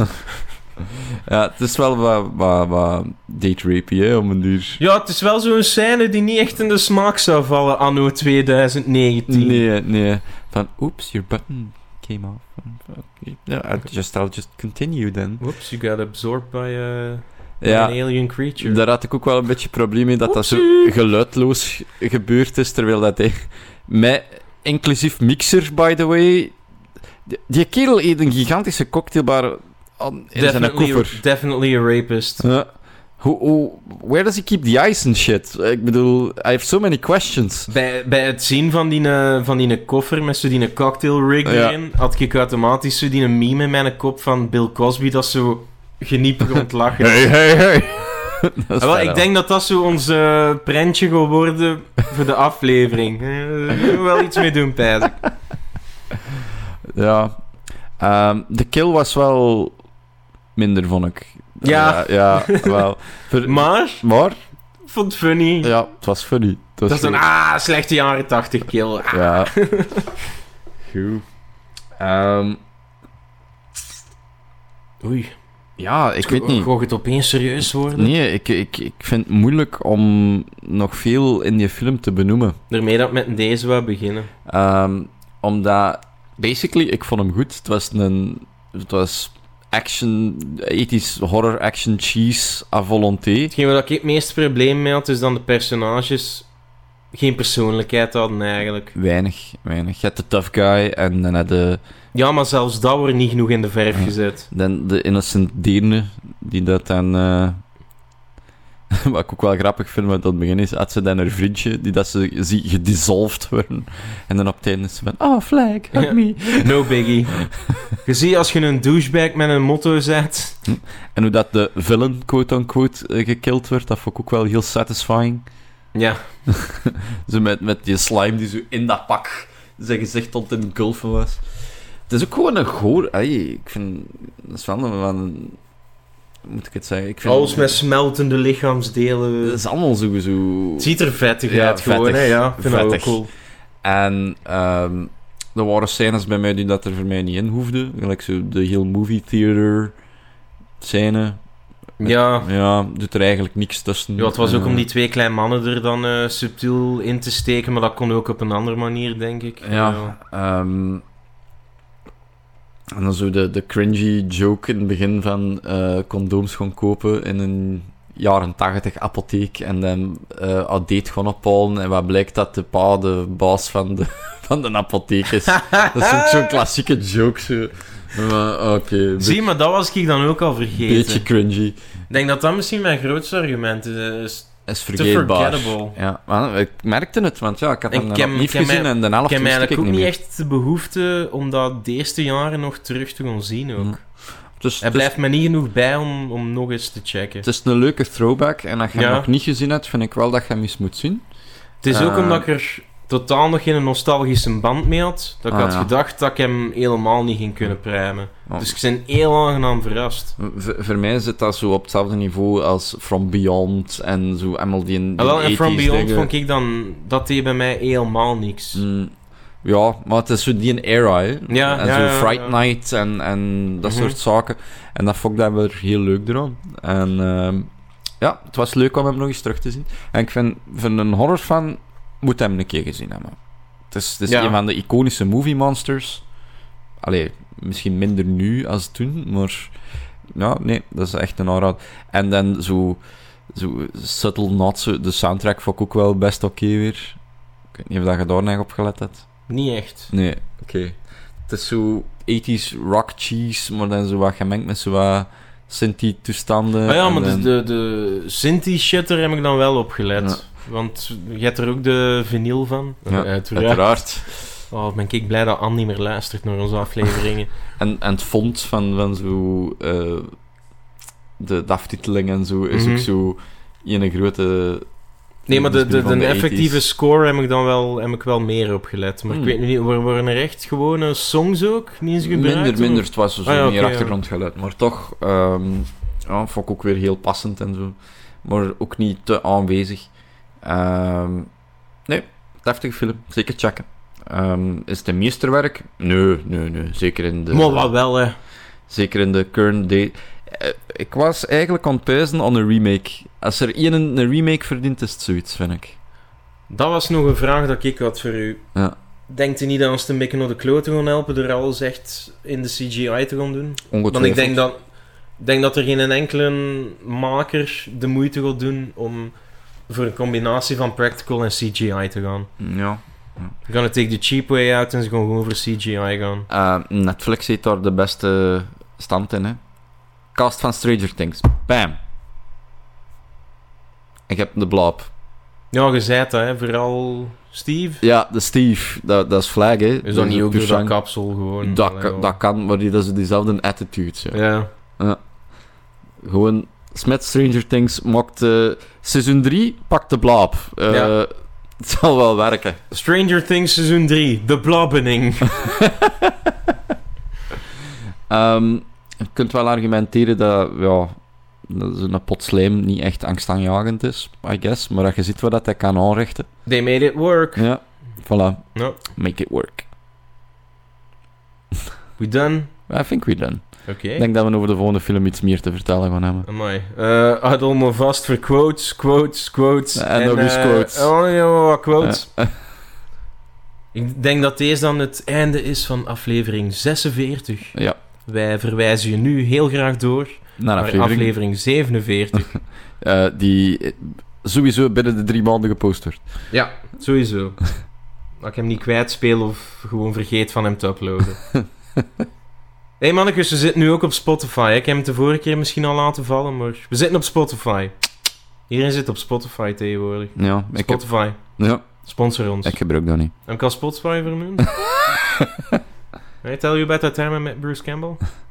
Ja, het is wel wat, wat, wat date rapey, hè, om een duur. ja, het is wel zo'n scène die niet echt in de smaak zou vallen anno 2019. Nee, nee. Van, oops, your button came off. Okay. Yeah, I'll just, I'll just continue then. Whoops, you got absorbed by a, Ja, an alien creature. daar had ik ook wel een beetje probleem mee dat dat zo Oepsie. geluidloos gebeurd is, terwijl dat hij... Met, inclusief mixer, by the way... Die, die kerel eet een gigantische cocktailbar aan- in zijn Definitely- koffer. Definitely a rapist. Ja. Hoe, hoe, where does he keep the ice and shit? Ik bedoel, I have so many questions. Bij, bij het zien van die, eh, van die koffer met zo die cocktail rig Ja. erin, had ik automatisch zo die meme in mijn kop van Bill Cosby dat zo geniepig ontlachen. Hey, hey, hey. Ah, wel, ik denk dat dat zo ons eh, prentje gaat worden voor de aflevering. Eh, Daar kunnen we wel iets mee doen, Pijs. Ja. Ehm, de kill was wel minder, vond ik. Ja. Ja, ja, wel. Ver- Maar, maar, ik vond het funny. ja, het was funny. Het was dat is een goed. ah, slechte jaren tachtig kill. Ja. Goed. Ehm, Oei. ja, ik weet niet. Goog het opeens serieus worden? Nee, ik, ik, ik vind het moeilijk om nog veel in die film te benoemen. Daarmee dat ik met deze wou beginnen. Ehm, omdat, basically, ik vond hem goed. Het was een. Het was action, ethisch horror action cheese à volonté. Hetgeen waar ik het meeste probleem mee had, is dat de personages geen persoonlijkheid hadden eigenlijk. Weinig, weinig. Je hebt de tough guy en dan heb je Ja, maar zelfs dat wordt niet genoeg in de verf Ja. gezet. dan de innocent deerne, die dat dan... eh, wat ik ook wel grappig vind, want aan het begin is, had ze dan haar vriendje, die dat ze ziet gedissolved worden. En dan op het einde is ze van, oh, flag, hug Ja. me. No biggie. je ziet als je een douchebag met een motto zet. En hoe dat de villain, quote-unquote, eh, gekild werd, dat vond ik ook wel heel satisfying. Ja, Zo met, met die slime die zo in dat pak zijn gezicht tot in de gulfen was. Het is ook gewoon een goor... ey, ik vind... Dat is wel een... wel een- hoe moet ik het zeggen? Ik vind, alles met smeltende lichaamsdelen. Het is allemaal sowieso... Het ziet er vettig Ja, uit gewoon, vettig. hè. Ja, vind ik ook Vettig. cool. En ehm er waren scènes bij mij die dat er voor mij niet in hoefden. Gelijk zo de heel movie theater scène. Ja. Ja, doet er eigenlijk niks tussen. Ah. ja, het was ook Eh, om die twee kleine mannen er dan eh, subtiel in te steken, maar dat kon ook op een andere manier, denk ik. Ja. ehm, en dan zo de, de cringy joke in het begin van eh, condooms gaan kopen in een jaren 80 apotheek en dan eh outdate gaan ophalen en wat blijkt dat de pa de baas van de, van de apotheek is. dat is ook zo'n klassieke joke. Zo. Maar, Oké, een be- Zie, maar dat was ik dan ook al vergeten. beetje cringy. Ik denk dat dat misschien mijn grootste argument is. is vergeetbaar. vergeetbaar. Ja, maar ik merkte het, want ja, ik had Ik hem dan ken- opnieuw ken gezien mij- en de Ik helft heb wist ik eigenlijk ook niet niet meer. echt de behoefte om dat de eerste jaren nog terug te gaan zien ook. Hm. Dus, Hij dus- blijft me niet genoeg bij om, om nog eens te checken. het is een leuke throwback en als je hem Ja. nog niet gezien hebt, vind ik wel dat je hem eens moet zien. Het is ook Eh. omdat ik er totaal nog geen nostalgische band mee had. Dat ik Ah, had ja. gedacht dat ik hem helemaal niet ging kunnen pruimen. Oh. Dus ik ben heel aangenaam verrast. V- voor mij zit dat zo op hetzelfde niveau als From Beyond en zo allemaal die, die Ah, wel, en From 80s Beyond dingen. vond ik dan... Dat deed bij mij helemaal niks. Mm, ja, maar het is zo die era, hè. Ja, en ja, zo ja, Fright ja. Night en, en dat Mhm. soort zaken. En dat vond ik daar weer heel leuk eraan. En ehm, ja, het was leuk om hem nog eens terug te zien. En ik vind, van een horrorfan moet hem een keer gezien hebben. Het is, het is Ja. een van de iconische movie monsters. Allee, misschien minder nu als toen, maar... Ja, nee, dat is echt een aanraad. En dan zo... zo subtle nods, zo- de soundtrack vond ik ook wel best oké weer. Ik weet niet of dat je daar nog op gelet hebt. Niet echt. Nee, oké. Het is zo 80s rock cheese, maar dan zo wat gemengd met zo wat Sinti-toestanden. Maar Ah ja, en maar dus dan- de, de, de Sinti-shit, daar heb ik dan wel op gelet. Want je hebt er ook de vinyl van. Eh, Ja, uiteraard. Uiteraard. Oh, ben ik blij dat Anne niet meer luistert naar onze afleveringen. En, en het font van, van zo... eh, de, de aftiteling en zo is Mhm. ook zo... Een grote... Nee, maar de, de, van de, effectieve 80s. score heb ik dan wel, heb ik wel meer op gelet. Maar Hmm. ik weet niet, wor- worden er echt gewone songs ook? Niet eens gebruikt? Minder, of- minder. Het was zo Ah, ja, meer oké, ja. achtergrondgeluid. Maar toch, ehm ja, vond ik ook weer heel passend en zo. Maar ook niet te aanwezig. Ehm, nee, deftige film. Zeker checken. Ehm, is het een meesterwerk? Nee, nee, nee. Zeker in de... Maar wat wel, hè. Zeker in de current day. Eh, ik was eigenlijk aan het puizen aan een remake. Als er één een remake verdient, is het zoiets, vind ik. Dat was nog een vraag dat ik had voor u. Ja. Denkt u niet dat ons de mikken naar de kloot te gaan helpen door alles echt in de CGI te gaan doen? Ongetwijfeld. Want ik denk dat, ik denk dat er geen enkele maker de moeite gaat doen om voor een combinatie van practical en CGI te gaan. Ja. Ze gaan het take the cheap way out en ze gaan gewoon voor CGI gaan. Eh, Netflix heeft daar de beste stand in, hè. Cast van Stranger Things. Bam. Ik heb de blob. Ja, je zei het, hè. Vooral Steve. Ja, de Steve. Dat, dat is flag, hè. Is dat niet ook door dat Bushang. kapsel gewoon? dus Dat, Allee, ka- joh. dat kan, maar die, dat is diezelfde attitude, ja. Ja. Gewoon, smet Stranger Things maakt... eh, seizoen 3, pak de blob. Eh, Ja. Het zal wel werken. Stranger Things seizoen 3, de blabbening. Ehm, je kunt wel argumenteren dat, ja, dat een pot slijm niet echt angstaanjagend is, I guess. Maar dat je ziet wat dat hij kan aanrichten. They made it work. Ja, voilà. Ja. Make it work. We done? I think we're done. Oké. Ik denk dat we over de volgende film iets meer te vertellen gaan hebben. Amai. Eh had allemaal vast voor quotes, quotes, quotes. En nog eens eh, quotes. Oh ja, wat quotes. Ik denk dat deze dan het einde is van aflevering 46. Ja, Wij verwijzen je nu heel graag door naar naar aflevering. aflevering, 47. eh, die sowieso binnen de drie maanden gepost wordt. ja, sowieso. Dat ik hem niet kwijtspeel of gewoon vergeet van hem te uploaden. Hé hey mannetjes, we zitten nu ook op Spotify. hè. Ik heb hem de vorige keer misschien al laten vallen, maar... We zitten op Spotify. Iedereen zit op Spotify tegenwoordig. Ja, ik, heb, Spotify. ja, Sponsor ons. ik gebruik dat niet. Heb ik al Spotify vernoemd? Can I tell you about that time I met Bruce Campbell?